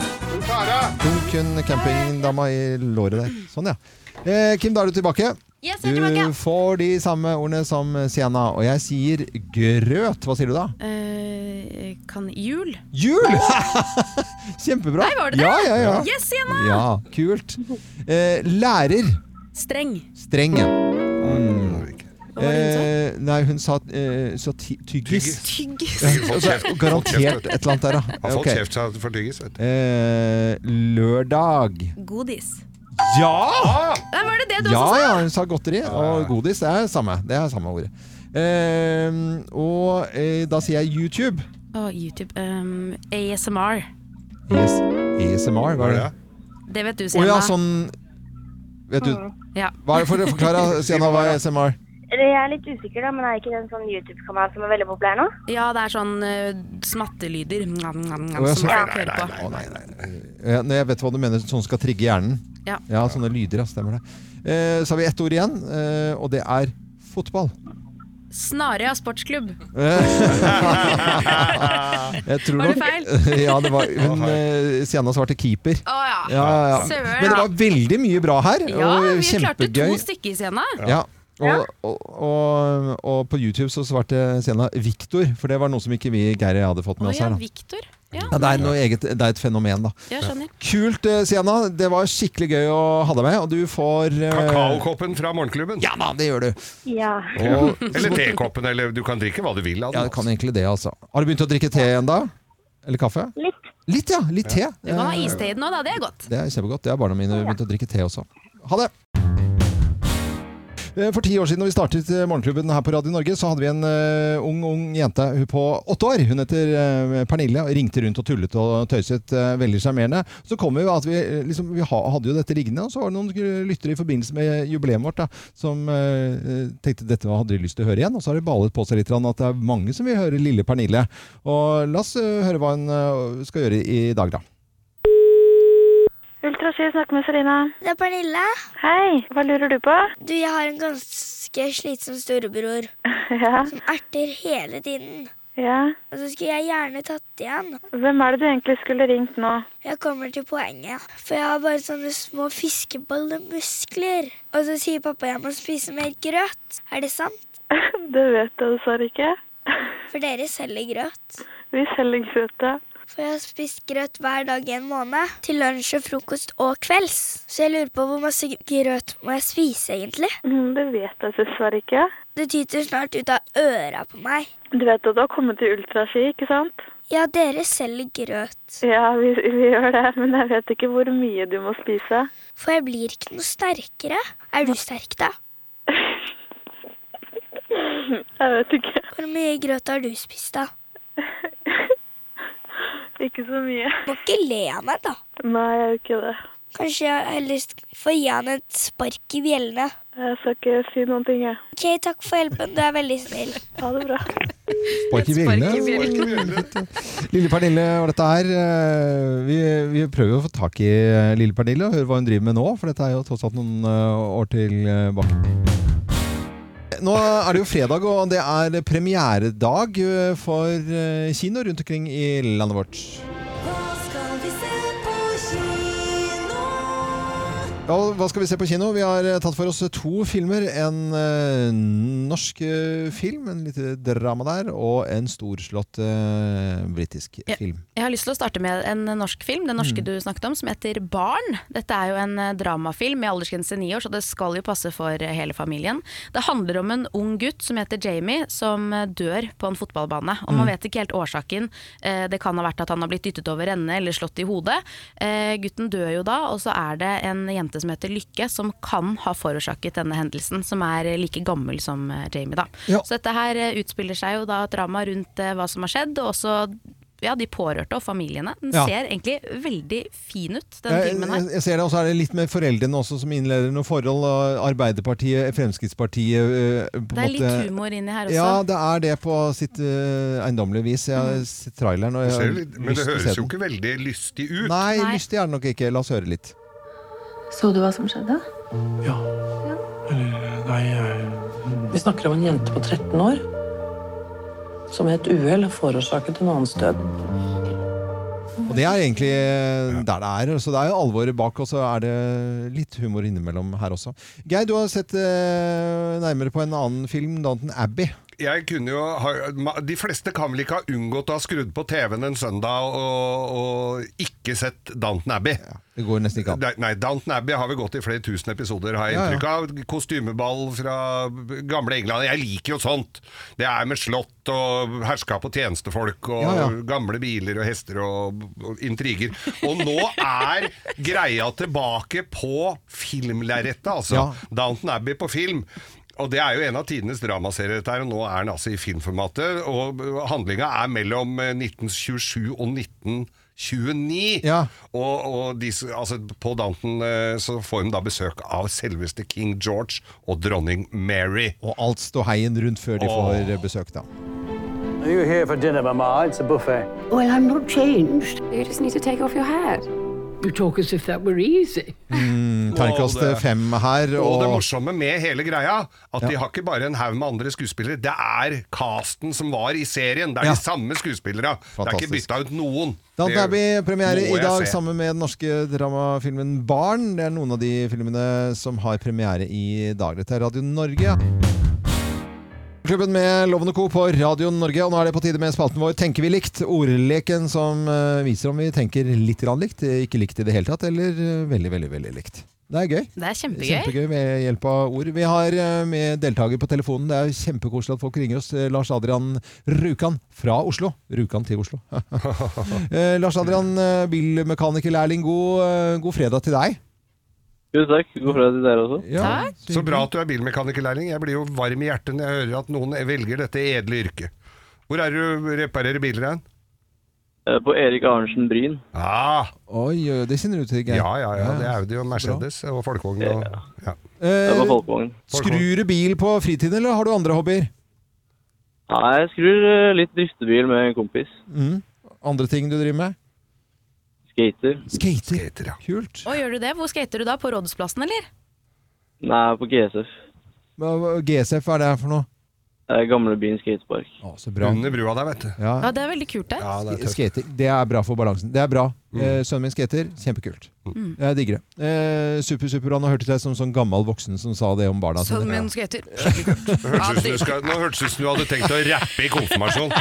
Hun kun campingdama i låret der. Sånn, ja. Eh, Kim, da er du tilbake. Yes, jeg er tilbake. Du får de samme ordene som Sienna, og jeg sier grøt. Hva sier du da? Eh, kan Jul? Jul! Kjempebra. Nei, var det det? Ja, ja, ja. Yes, Sienna! Ja, kult. Eh, lærer. Streng. Streng, ja. Mm. var det hun sa? Eh, nei, hun sa, eh, sa ty tyggis. Tyggis. Ja, og så er det garantert et eller annet der, da. Har fått Ok. kjeft seg for tyggis, vet du. Eh, lørdag. Godis. Ja! Nei, var det det Ah! du Ja, også sa? ja, hun sa godteri og godis. Det er samme, det er samme ordet. Eh, og eh, da sier jeg YouTube. Å, YouTube. Um, ASMR. AS ASMR, hva er det? Det vet du, Å Sienna. ja, sånn Vet du Ja. Hva er det for å forklare, Sienna, hva er ASMR? Eller Jeg er litt usikker, da, men er ikke det en sånn YouTube-kanal som er veldig populær nå? Ja, det er sånn eh, smattelyder nam, nam, nam, Å, ja, som så- folk hører på. Eh, nei, Jeg vet hva du mener, sånn skal trigge hjernen. Ja. Ja, sånne lyder, ja, stemmer det. Eh, så har vi ett ord igjen, eh, og det er fotball. Eh, Snarøya sportsklubb. Jeg tror Var det nok- feil? ja, det var, hun eh, Sienna svarte keeper. Å ja. Ja, ja, ja. Søren, Men det da. var veldig mye bra her. Ja, og vi klarte to kjempegøy. stykker i scenen. Ja. Og, og, og, og på YouTube så svarte Sienna Victor, for det var noe som ikke vi Geir og jeg hadde fått med Å oss ja, her. Da. Victor. Ja, Ja, det, er noe eget, det er et fenomen, da. Jeg skjønner. Kult, eh, Sienna. Det var skikkelig gøy å ha deg med. Og du får eh, Kakaokoppen fra morgenklubben. Ja da, det gjør du. Ja. Oh. Og- eller tekoppen, eller du kan drikke hva du vil av Ja, den. du kan egentlig det, altså. Har du begynt å drikke te enda? Eller kaffe? Litt. Litt, ja. Litt te. Du kan ha iste i den òg, da. Det er godt. Det er kjempegodt. Det er barna mine begynt å drikke te også. Ha det! Eh, For ti år siden når vi startet eh, Morgenklubben her på Radio Norge, så hadde vi en eh, ung ung jente hun på åtte år. Hun heter eh, Pernille. og Ringte rundt og tullet og tøyset. eh, veldig sjarmerende. Så kom vi jo at vi, eh, liksom, vi ha, hadde jo dette liggende, og så var det noen lyttere i forbindelse med jubileet vårt da, som eh, tenkte dette hadde de lyst til å høre igjen. Og så har det balet på seg litt grann at det er mange som vil høre lille Pernille. Og la oss eh, høre hva hun eh, skal gjøre i dag, da. Ultrasky snakker med Selina. Det er Pernille. Hei, hva lurer du på? Du, jeg har en ganske slitsom storebror Ja. som erter hele tiden. Ja. Og så skulle jeg gjerne tatt igjen. Hvem er det du egentlig skulle ringt nå? Jeg kommer til poenget. For jeg har bare sånne små fiskeballemuskler. Og så sier pappa jeg må spise mer grøt. Er det sant? Det vet jeg dessverre ikke. For dere selger grøt. Vi selger grøt, ja. For jeg har spist grøt hver dag i en måned. Til lunsj og frokost og kvelds. Så jeg lurer på hvor masse grøt må jeg spise egentlig? Mm, Det vet jeg dessverre ikke. Det tyter snart ut av øra på meg. Du vet at du har kommet til ultraski, ikke sant? Ja, dere selger grøt. Ja, vi, vi gjør det, men jeg vet ikke hvor mye du må spise. For jeg blir ikke noe sterkere. Er du sterk, da? Jeg vet ikke. Hvor mye grøt har du spist, da? Ikke så mye. Må ikke le av meg, da. Nei, jeg gjør ikke det. Kanskje jeg heller sk- får gi han et spark i bjellene. Jeg skal ikke si noen ting, jeg. Ok, takk for hjelpen. Du er veldig snill. Ha det bra. Spark i bjellene. Lille Pernille og dette her. eh, Vi, vi prøver å få tak i eh, Lille Pernille og høre hva hun driver med nå, for dette er jo tross alt noen eh, år tilbake. Nå er det jo fredag, og det er premieredag eh, for eh, kino rundt omkring i landet vårt. Ja, og hva skal vi se på kino? Vi har eh, tatt for oss to filmer. En eh, norsk eh, film, en lite drama der, og en storslått eh, britisk Ja. film. Jeg har lyst til å starte med en norsk film, den norske Mm. du snakket om, som heter Barn. Dette er jo en eh, dramafilm med aldersgrense ni år, så det skal jo passe for eh, hele familien. Det handler om en ung gutt som heter Jamie, som eh, dør på en fotballbane. Og Mm. man vet ikke helt årsaken. Eh, Det kan ha vært at han har blitt dyttet over ende eller slått i hodet. Eh, Gutten dør jo da, og så er det en jente som heter Lykke, som kan ha forårsaket denne hendelsen, som er eh, like gammel som eh, Jamie, da. Så dette her eh, utspiller seg jo da et drama rundt eh, hva som har skjedd, og også ja, de pårørte og familiene. Den Ja. ser egentlig veldig fin ut, den Jeg, jeg, filmen her. jeg ser det, og så er det litt med foreldrene også som innleder noen forhold. og Arbeiderpartiet, Fremskrittspartiet eh, på en Det er litt måte- humor inni her også. Mm. Ja, det er det på sitt eh, eiendommelige vis. Jeg har sett traileren. Og Det jeg ser har litt- Men det lyst til å se høres jo den. ikke veldig lystig ut. Nei, lystig er det nok ikke. La oss høre litt. Så du hva som skjedde? Ja. Eller Nei, jeg Vi snakker om en jente på 13 år som ved et uhell har forårsaket en annens død. Og det er egentlig der det er. Så det er jo alvoret bak, og så er det litt humor innimellom her også. Geir, du har sett eh, nærmere på en annen film, Danton Abbey. jeg kunne jo ha, ma- De fleste kan vel ikke ha unngått å ha skrudd på TV-en en søndag og, og ikke sett Downton Abbey. Det går nesten ikke an. Nei, nei, Downton Abbey har vi gått i flere tusen episoder, har jeg Ja, ja. inntrykk av. Kostymeball fra gamle England. Jeg liker jo sånt! Det er med slott og herskap og tjenestefolk og Ja, ja. gamle biler og hester og, og intriger. Og nå er greia tilbake på filmlerretet, altså. Ja. Downton Abbey på film. Og det er jo en av tidenes dramaserier, dette her, og nå er den altså i filmformatet. Og handlinga er mellom eh, 1927 og 1929. Og, og de, s- altså, på Downton eh, så får hun da besøk av selveste King George og dronning Mary. Og alt ståheien rundt før de får eh, besøk, da. Are you here for dinner, Mama? It's a buffet. Well, I'm not changed. You just need to take off your hat. You're talking as if that were easy. Mm, Terningkast Og det- fem her. Og det Og, morsomme med hele greia, at de Ja. har ikke bare en haug med andre skuespillere, det er casten som var i serien. Det er Ja. de samme skuespillere. Det er ikke Fantastisk. bytta ut noen. da Det er vi premiere i må jeg dag se. sammen med den norske dramafilmen Barn. Det er noen av de filmene som har premiere i dag. Dette er Radio Norge. Klubben med Loven og Co. på Radio Norge, og nå er det på tide med spalten vår Tenker vi likt? Ordleken som eh, viser om vi tenker litt grann likt, eh, ikke likt i det hele tatt, eller eh, veldig, veldig, veldig likt. Det er gøy. Det er kjempegøy. Kjempegøy ved hjelp av ord. Vi har eh, med deltaker på telefonen. Det er kjempekoselig at folk ringer oss. Eh, Lars Adrian Rjukan fra Oslo. Rjukan til Oslo. Eh, Lars Adrian, eh, bilmekanikerlærling, god, eh, god fredag til deg. Tusen takk. God fredag til dere også. Så bra at du er bilmekanikerlærling. Jeg blir jo varm i hjertet når jeg hører at noen velger dette edle yrket. Hvor er det du reparerer biler hen? Eh, På Erik Arnesen Bryn. Ah. Oi, oi, det kjenner du til, Geir. Ja, ja, ja. Det er Audi og Mercedes og folkevogn. Og, ja. Eh, på folkevogn. Skrur du bil på fritiden, eller har du andre hobbyer? Nei, jeg skrur eh, litt driftebil med en kompis. Mm. Andre ting du driver med? Skater. Skater? Kult. Og gjør du det? Hvor skater du da? På Rådhusplassen, eller? Nei, på GSF. Hva- hva- GSF, hva er det for noe? Eh, Gamlebyen skatepark. Å, så bra. Under brua der, vet du. Ja. Ja, det er veldig kult, det. Sk- Skating, det er bra for balansen. Det er bra. Eh, sønnen min skater, kjempekult. Mm. Jeg digger det. Eh, super, super, han hørte seg som sånn gammel voksen som sa det om barna Som sine. en skater. Hørtes ut som du skal, nå hørtes det ut som du hadde tenkt å rappe i konfirmasjon.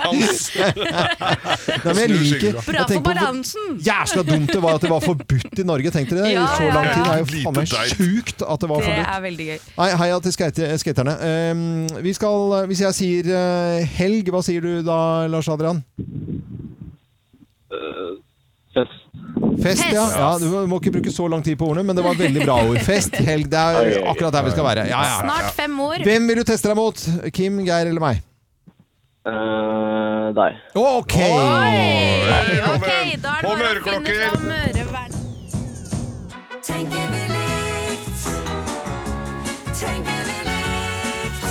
Hans. Nei, men jeg Snur liker skyggen. jeg tenker på hvor Jæsla dumt det var at det var forbudt i Norge, tenkte dere det? I Ja, så ja, lang tid. Det er ja. jo faen meg Lite teit. sjukt at det var Det forbudt. er veldig gøy. Nei, heia til skate- skaterne. Eh, vi skal, hvis jeg sier eh, helg, hva sier du da, Lars Adrian? Eh, fest. Fest, ja. Fest. ja. Du må ikke bruke så lang tid på ordene, men det var veldig bra ord. Fest, helg, det Oi, er oi, oi. akkurat der vi skal være. Ja, ja. Snart fem år. Hvem vil du teste deg mot? Kim, Geir eller meg? Eh, deg. Ok! Ok, da er det bare å finne Håndørklokker. fram ørevernet. Tenker vi likt? Tenker vi likt?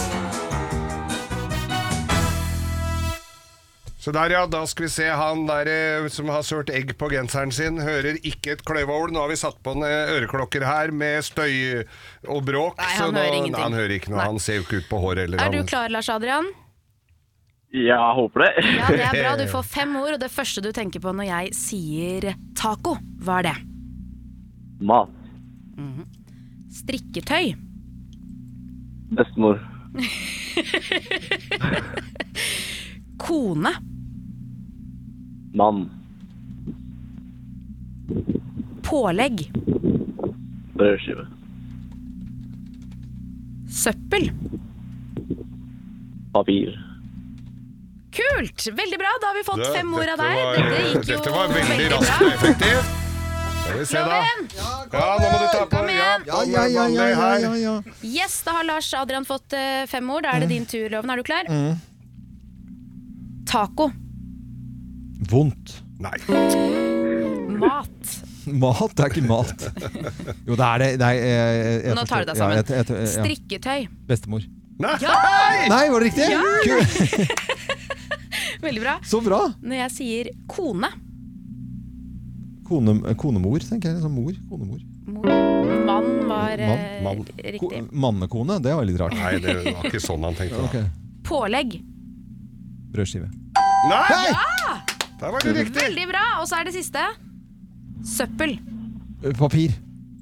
Så der, ja. Da skal vi se han der eh, som har sølt egg på genseren sin. Hører ikke et kløyvaol. Nå har vi satt på en eh, øreklokker her med støy og bråk. Nei, så han nå, hører ingenting. Nei, han hører ikke noe. Han ser jo ikke ut på håret heller. Er du han- klar, Lars Adrian? Ja, jeg håper det. Ja, det er bra. Du får fem ord, og det første du tenker på når jeg sier taco, hva er det? Mat. Strikketøy. Bestemor. Kone. Mann. Pålegg. Brødskive. Søppel. Papir. Kult! Veldig bra, da har vi fått Det- fem ord av dette deg. var- Dette gikk jo Dette var veldig bra. raskt og effektivt. Skal vi se, da. Ja, nå må du ta på ja, Ja, ja, ja, ja, ja, ja, ja. Yes, da har Lars Adrian fått eh, fem ord. Da er det din tur, Loven. Er du klar? Mm. Taco. Vondt. Nei. Mat. Mat er ikke mat. Jo, det er det. Nei, jeg, jeg, jeg Nå tar du forstår. deg Ja, sammen. jeg- jeg- jeg- ja. Strikketøy. Bestemor. Nei! Nei, var det riktig? Ja! Kult. Veldig bra. Så bra. Når jeg sier kone, Kone, eh, konemor, tenker jeg. Liksom mor. Konemor. mann var eh, Mann. Mann. Ko, riktig. mannekone, det var litt rart. Nei, det var ikke sånn han tenkte. da. Ok. Pålegg. Brødskive. Nei! Ja! Der var det riktig. Veldig bra. Og så er det siste. Søppel. Eh, Papir.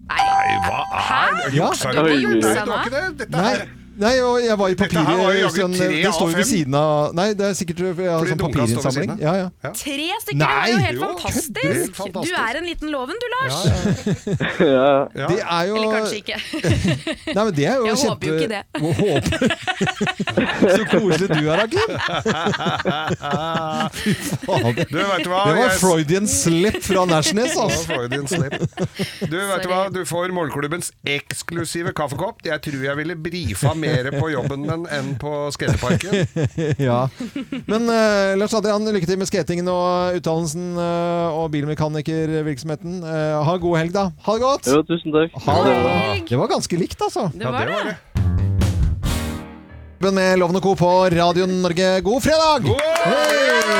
Nei, hva er det? Ja. Juksa du? Oi, Nei, oi, oi. det var ikke det. Dette Nei. er Nei, og jeg var i papiret. her var jo jaggu sånn, tre det av står jo ved fem. siden av Nei, det er sikkert jeg har Fordi sånn dunka står ved siden papirinnsamling. av. Ja, ja. Tre stykker, Nei! det var jo helt Jo, helt fantastisk. fantastisk. Du er en liten loven du, Lars. Det er jo Eller kanskje ikke. Nei, men det er jo Jeg håper kjempe- jo ikke det. Må håpe. Så koselig du er, da, Kim. Fy faen. Du, vet du hva? Det var Jeg- Freudian slip fra Nashnes, Det var altså. Freudian slip. Du, vet du hva? Du får målklubbens eksklusive kaffekopp. Jeg tror jeg ville brifa mer på jobben min enn på skateparken. ja. Men eh, Lars Adrian, lykke til med skatingen og utdannelsen eh, og bilmekanikervirksomheten. Eh, ha god helg, da. Ha det godt! Jo, tusen takk. Ha det. det var ganske likt, altså. Det Ja, var det var det. Men med Loven og Co. på Radio Norge, god fredag! Hei!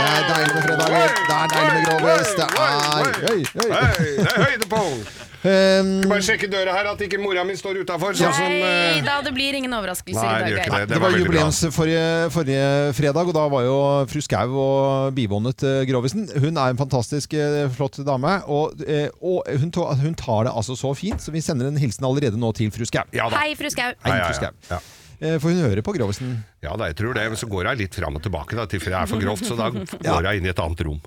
Det er deilig med fredager. Det er deilig med grovis. Det er Oi, oi. Det er høydepunkt! Skal bare sjekke døra her, at ikke mora mi står utafor. Sånn som Nei eh, da, det blir ingen overraskelser Nei, i det gjør dag. ikke Geir. det. Det var veldig bra. jubileums forrige, forrige fredag, og da var jo fru Skau og bivånet eh, Grovisen. Hun er en fantastisk eh, flott dame, og, eh, og hun, ta, hun tar det altså så fint, så vi sender en hilsen allerede nå til fru Skau. Hei, fru Skau. Hei, fru Skau. Eh, For hun hører på Grovisen. Ja da, jeg tror det. Men så går jeg litt fram og tilbake, da, til for det er for grovt. Så da går jeg inn i et annet rom.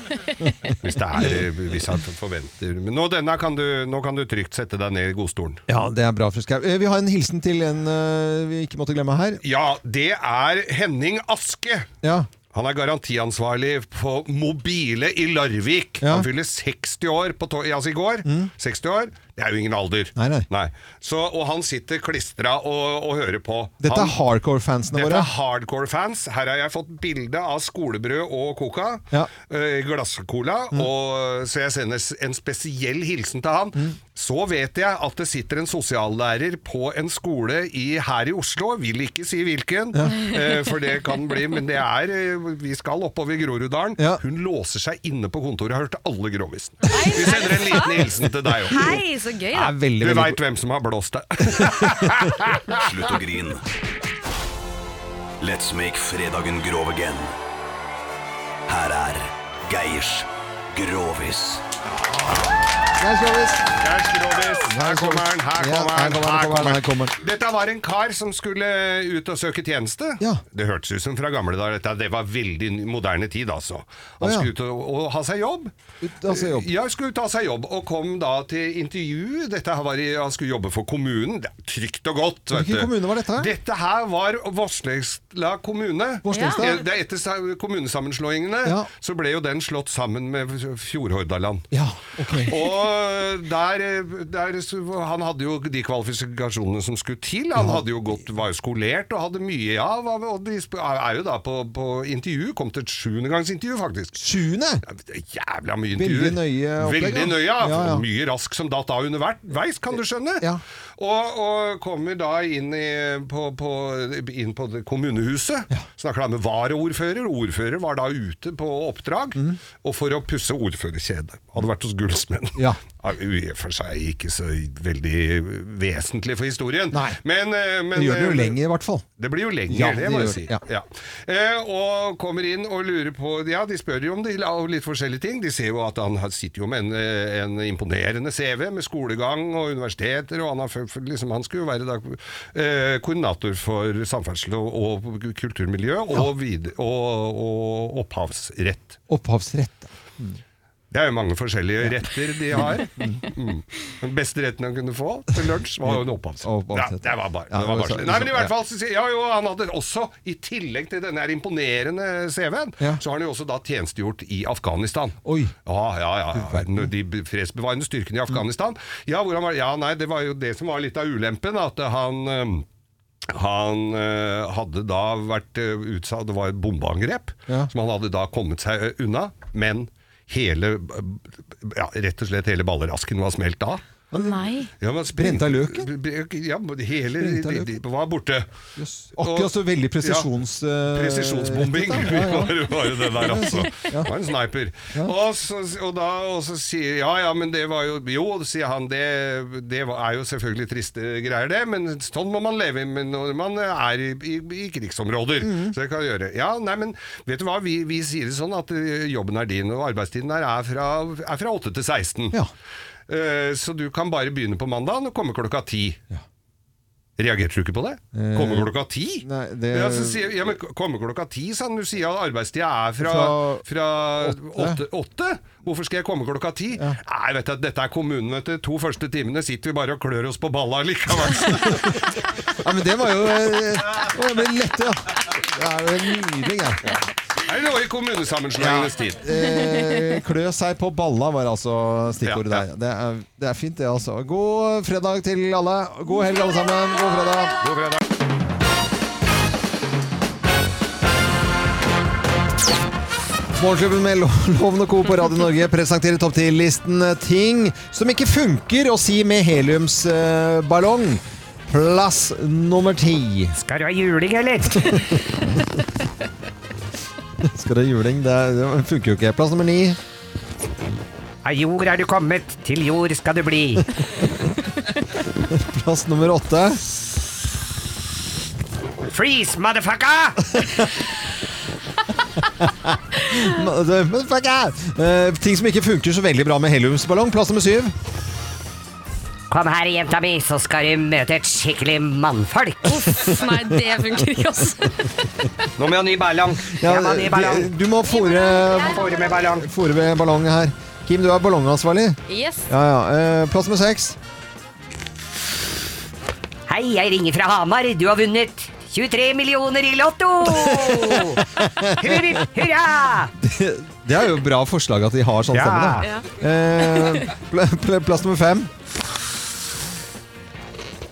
hvis det er Hvis jeg forventer Men nå, denne kan du, nå kan du trygt sette deg ned i godstolen. Ja, det er bra, fru Skau. Eh, Vi har en hilsen til en eh, vi ikke måtte glemme her. Ja, det er Henning Aske. Ja. Han er garantiansvarlig på Mobile i Larvik. Han fyller 60 år på to altså i går. 60 år. Det er jo ingen alder. Mm. Nei, nei. Nei. Så, og han sitter klistra og, og hører på. Dette er han, hardcore-fansene dette våre. er hardcore fans. Her har jeg fått bilde av skolebrød og coca. Ja. eh, Glasscola. Mm. Og, så jeg sender s- en spesiell hilsen til han. Mm. Så vet jeg at det sitter en sosiallærer på en skole i, her i Oslo. Vil ikke si hvilken, eh, for det kan bli. Men det er eh, Vi skal oppover Groruddalen. Hun låser seg inne på kontoret og hørte alle grovisene. Vi sender en liten hilsen til deg òg. Hei, så gøy, da. Du veit hvem som har blåst deg. Slutt å grine. Let's make fredagen grov again. Her er Geirs Grovis. Her kommer han, her Ja, kommer han, her kommer her han. kommer han. Dette var en kar som skulle ut og søke tjeneste. Det hørtes ut som fra gamle dager. dette. Det var veldig ny- moderne tid, altså. Han Å, ja. skulle ut og, og ha seg jobb. ta seg jobb. Ja, skulle ta seg jobb, og kom da til intervju. Dette her var i, han skulle jobbe for kommunen. Det er trygt og godt. vet Hvilken du. kommune var dette her? Dette her var Vosslegstla kommune. Vosslegstad? Ja. Det er etter sa- kommunesammenslåingene Ja. så ble jo den slått sammen med Fjordhordaland. Ja, ok. Og der, der Han hadde jo de kvalifikasjonene som skulle til. Han hadde jo gått, var jo skolert og hadde mye av. Og de sp- er jo da på, på intervju. Kom til et sjuendegangsintervju, faktisk. Sjuende? Jævla mye intervju. Veldig nøye opplegg, Veldig da. nøye, ja. Ja, ja. Mye rask som datt av underveis, kan du skjønne. Og, og kommer da inn, i, på, på, inn på det kommunehuset. Snakker da med varaordfører. Ordfører var da ute på oppdrag Mhm. og for å pusse ordførerkjedet. Hadde vært hos Gullsmenn. Ja. Ja, I og for seg ikke så veldig vesentlig for historien. Men, eh, men Det gjør det jo eh, lenger, i hvert fall. det blir jo lenger, Ja, det, det må gjør jeg det, si. ja. Ja. Eh, og kommer inn og lurer på Ja, de spør jo om det, og litt forskjellige ting. De ser jo at han har- sitter jo med en, eh, en imponerende CV med skolegang og universiteter, og han, har, føl- føl- liksom, han skulle jo være da, eh, koordinator for samferdsel og, og kulturmiljø og, vid- og, og opphavsrett. Opphavsrett. Det er jo mange forskjellige retter de har. Mm. Den beste retten han kunne få til lunsj, var jo en opphavsrett. Ja, det var bare, det var bare slik. Nei, men i hvert fall så sier- ja, jo, Han hadde også, i tillegg til denne her imponerende CV-en, så har han jo også da tjenestegjort i Afghanistan. Oi. Ja, ja, ja. De fredsbevarende styrkene i Afghanistan. Ja, hvor han var, ja, nei, det var jo det som var litt av ulempen, at han øhm, han øh, hadde da vært øh, utsatt Det var et bombeangrep Ja. som han hadde da kommet seg øh, unna. Men hele øh, ja, Rett og slett hele ballerasken var smelt av. Å nei. Ja, men Brent av løken? b- b- Ja, hele Brent av de, de var borte. Akkurat så veldig presisjons... presisjonsbombing eh, rettet, da. Ja, ja. Presisjonsbombing var, var jo det der, altså. Det var en sniper. Og, så, og, da, og så sier Ja, ja, men det var jo Jo, sier han, det, det var- er jo selvfølgelig triste greier, det, men sånn må man leve med når man er i, i, i krigsområder. Mm. Så det kan jeg gjøre. Ja, nei, men vet du hva, vi, vi sier det sånn at eh, jobben er din, og arbeidstiden her er fra, er fra 8 til 16. Eh, Så du kan bare begynne på mandagen og komme klokka ti. Reagerte du ikke på det? Eh, Kommer klokka ti? Nei, det ja, så sier, ja, men kommer klokka ti, sa han. Du sier at arbeidstida er fra, fra åtte. åtte. Hvorfor skal jeg komme klokka ti? Nei, vet du, dette er kommunen, vet du. To første timene sitter vi bare og klør oss på balla likevel. Ja, men det var jo eh, å, det ble lett, ja. Det er jo nydelig, ja. Er det noe i kommunesammenslåingenes tid? Eh, klø seg på balla var altså stikkordet der. Det er, det er fint, det, altså. God fredag til alle. God helg, alle sammen. God fredag. God fredag. Morgenklubben med Lo- Loven og Co. på Radio Norge presenterer topp 10-listen ting som ikke funker å si med heliumsballong. Plass nummer ti. Skal du ha juling, eller? Latter og juling, det, er- det funker jo ikke. Plass nummer ni. Av jord er du kommet, til jord skal du bli. Plass nummer åtte. Freeze, motherfucker! Ma- det- men fuck yeah! Eh, ting som ikke funker så veldig bra med heliumsballong. Plass nummer syv. Kom her, jenta mi, så skal du møte et skikkelig mannfolk. Uff, nei, det funker ikke, altså. Nå må jeg ha ny ballong. Ja, jeg må ha ny ballong. du, du må fòre Fôre med ballong. Fôre med ballong her. Kim, du er ballongansvarlig. Yes. Ja, ja. Eh, plass nummer seks. Hei, jeg ringer fra Hamar. Du har vunnet 23 millioner i Lotto! Hurra! hurra! Det, det er jo bra forslag at de har sånn Ja. stemme. da. Eh, pl pl plass nummer fem.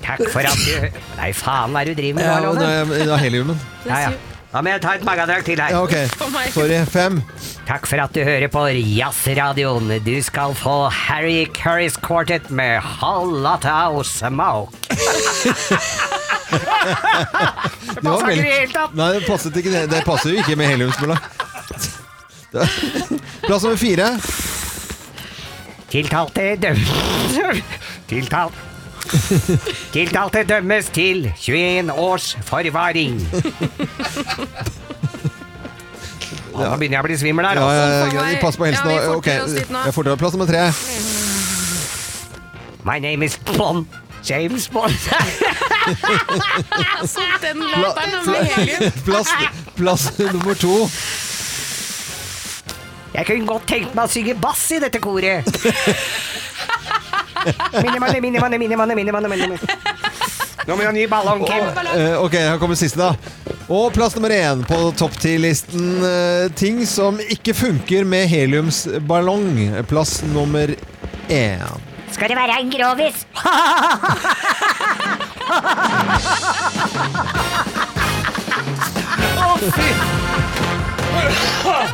Takk for at du Nei, faen, hva er det du driver med Ja, nå, det Lone? er, det er heliumen. Ja, ja. Da må jeg ta et magadrag til her. Ja, ok. Sorry. Fem. Takk for at du hører på Jazzradioen. Du skal få Harry Curry's Quartet med Whole Lotta of Smoke. Det passer var ikke i det veldig- hele tatt. Nei, det passet ikke. Det, det passer jo ikke med heliumsballong. Det- Plass nummer fire. Tiltalte dømmes Tiltalt Tiltalte dømmes til 21 års forvaring. Ja, nå begynner jeg å bli svimmel her. Ja, ja, ja, altså. greit. Pass på helsen nå. Ok, jeg fortere. Plass nummer tre. My name is Bond. James Bond. Så den Pla- latteren pla- med helium. plass, plass nummer to. Jeg kunne godt tenkt meg å synge bass i dette koret. Minimanne, minimanne, minimanne, minimanne, minimanne. Nå må jeg ha ny ballong, Kim. Eh, ok, her kommer siste, da. Og plass nummer én på topp ti-listen. eh, ting som ikke funker med heliumsballong. Plass nummer én. Skal det være en grovis?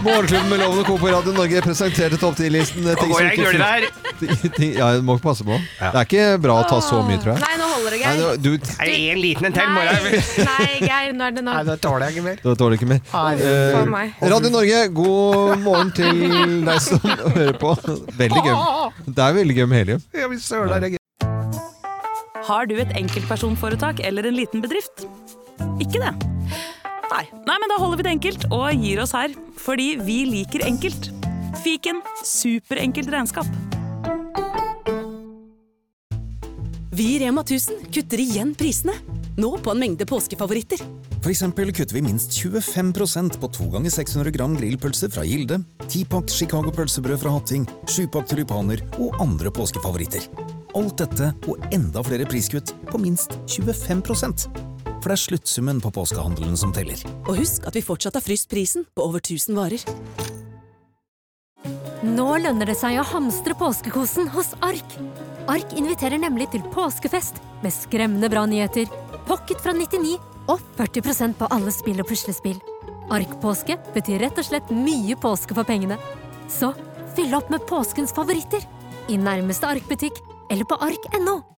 Morgenklubben med Lovende Co. på Radio Norge presenterte topp ti-listen. eh, ting går som jeg i ikke gulvet fun- ting- Ja, du må passe på. Det er ikke bra å ta så mye, tror jeg. Nei, nå holder det, Geir. Nei, du, du, Er det en liten en til? Må jeg... Nei, Geir, nå er det nok. Det tåler jeg ikke mer. Da tåler du ikke mer. Nei, Eh, for meg. Radio Norge, god morgen til deg som hører på. Veldig gøy. Det er veldig gøy med helium. Ja, vi søler, det er gøy. Har du et enkeltpersonforetak eller en liten bedrift? Ikke det? Nei. Nei, men da holder vi det enkelt og gir oss her. Fordi vi liker enkelt. Fiken superenkelt regnskap. Vi i Rema 1000 kutter igjen prisene. Nå på en mengde påskefavoritter. For eksempel kutter vi minst 25 på 2 ganger 600 gram grillpølser fra Gilde, 10-pakk Chicago pølsebrød fra Hatting, 7-pakk tulipaner og andre påskefavoritter. Alt dette og enda flere priskutt på minst 25 For det er sluttsummen på påskehandelen som teller. Og husk at vi fortsatt har fryst prisen på over 1000 varer. Nå lønner det seg å hamstre påskekosen hos Ark. Ark inviterer nemlig til påskefest med skremmende bra nyheter, pocket fra 99 og 40 på alle spill og puslespill. Ark-påske betyr rett og slett mye påske for pengene. Så fyll opp med påskens favoritter i nærmeste Ark-butikk eller på ark.no.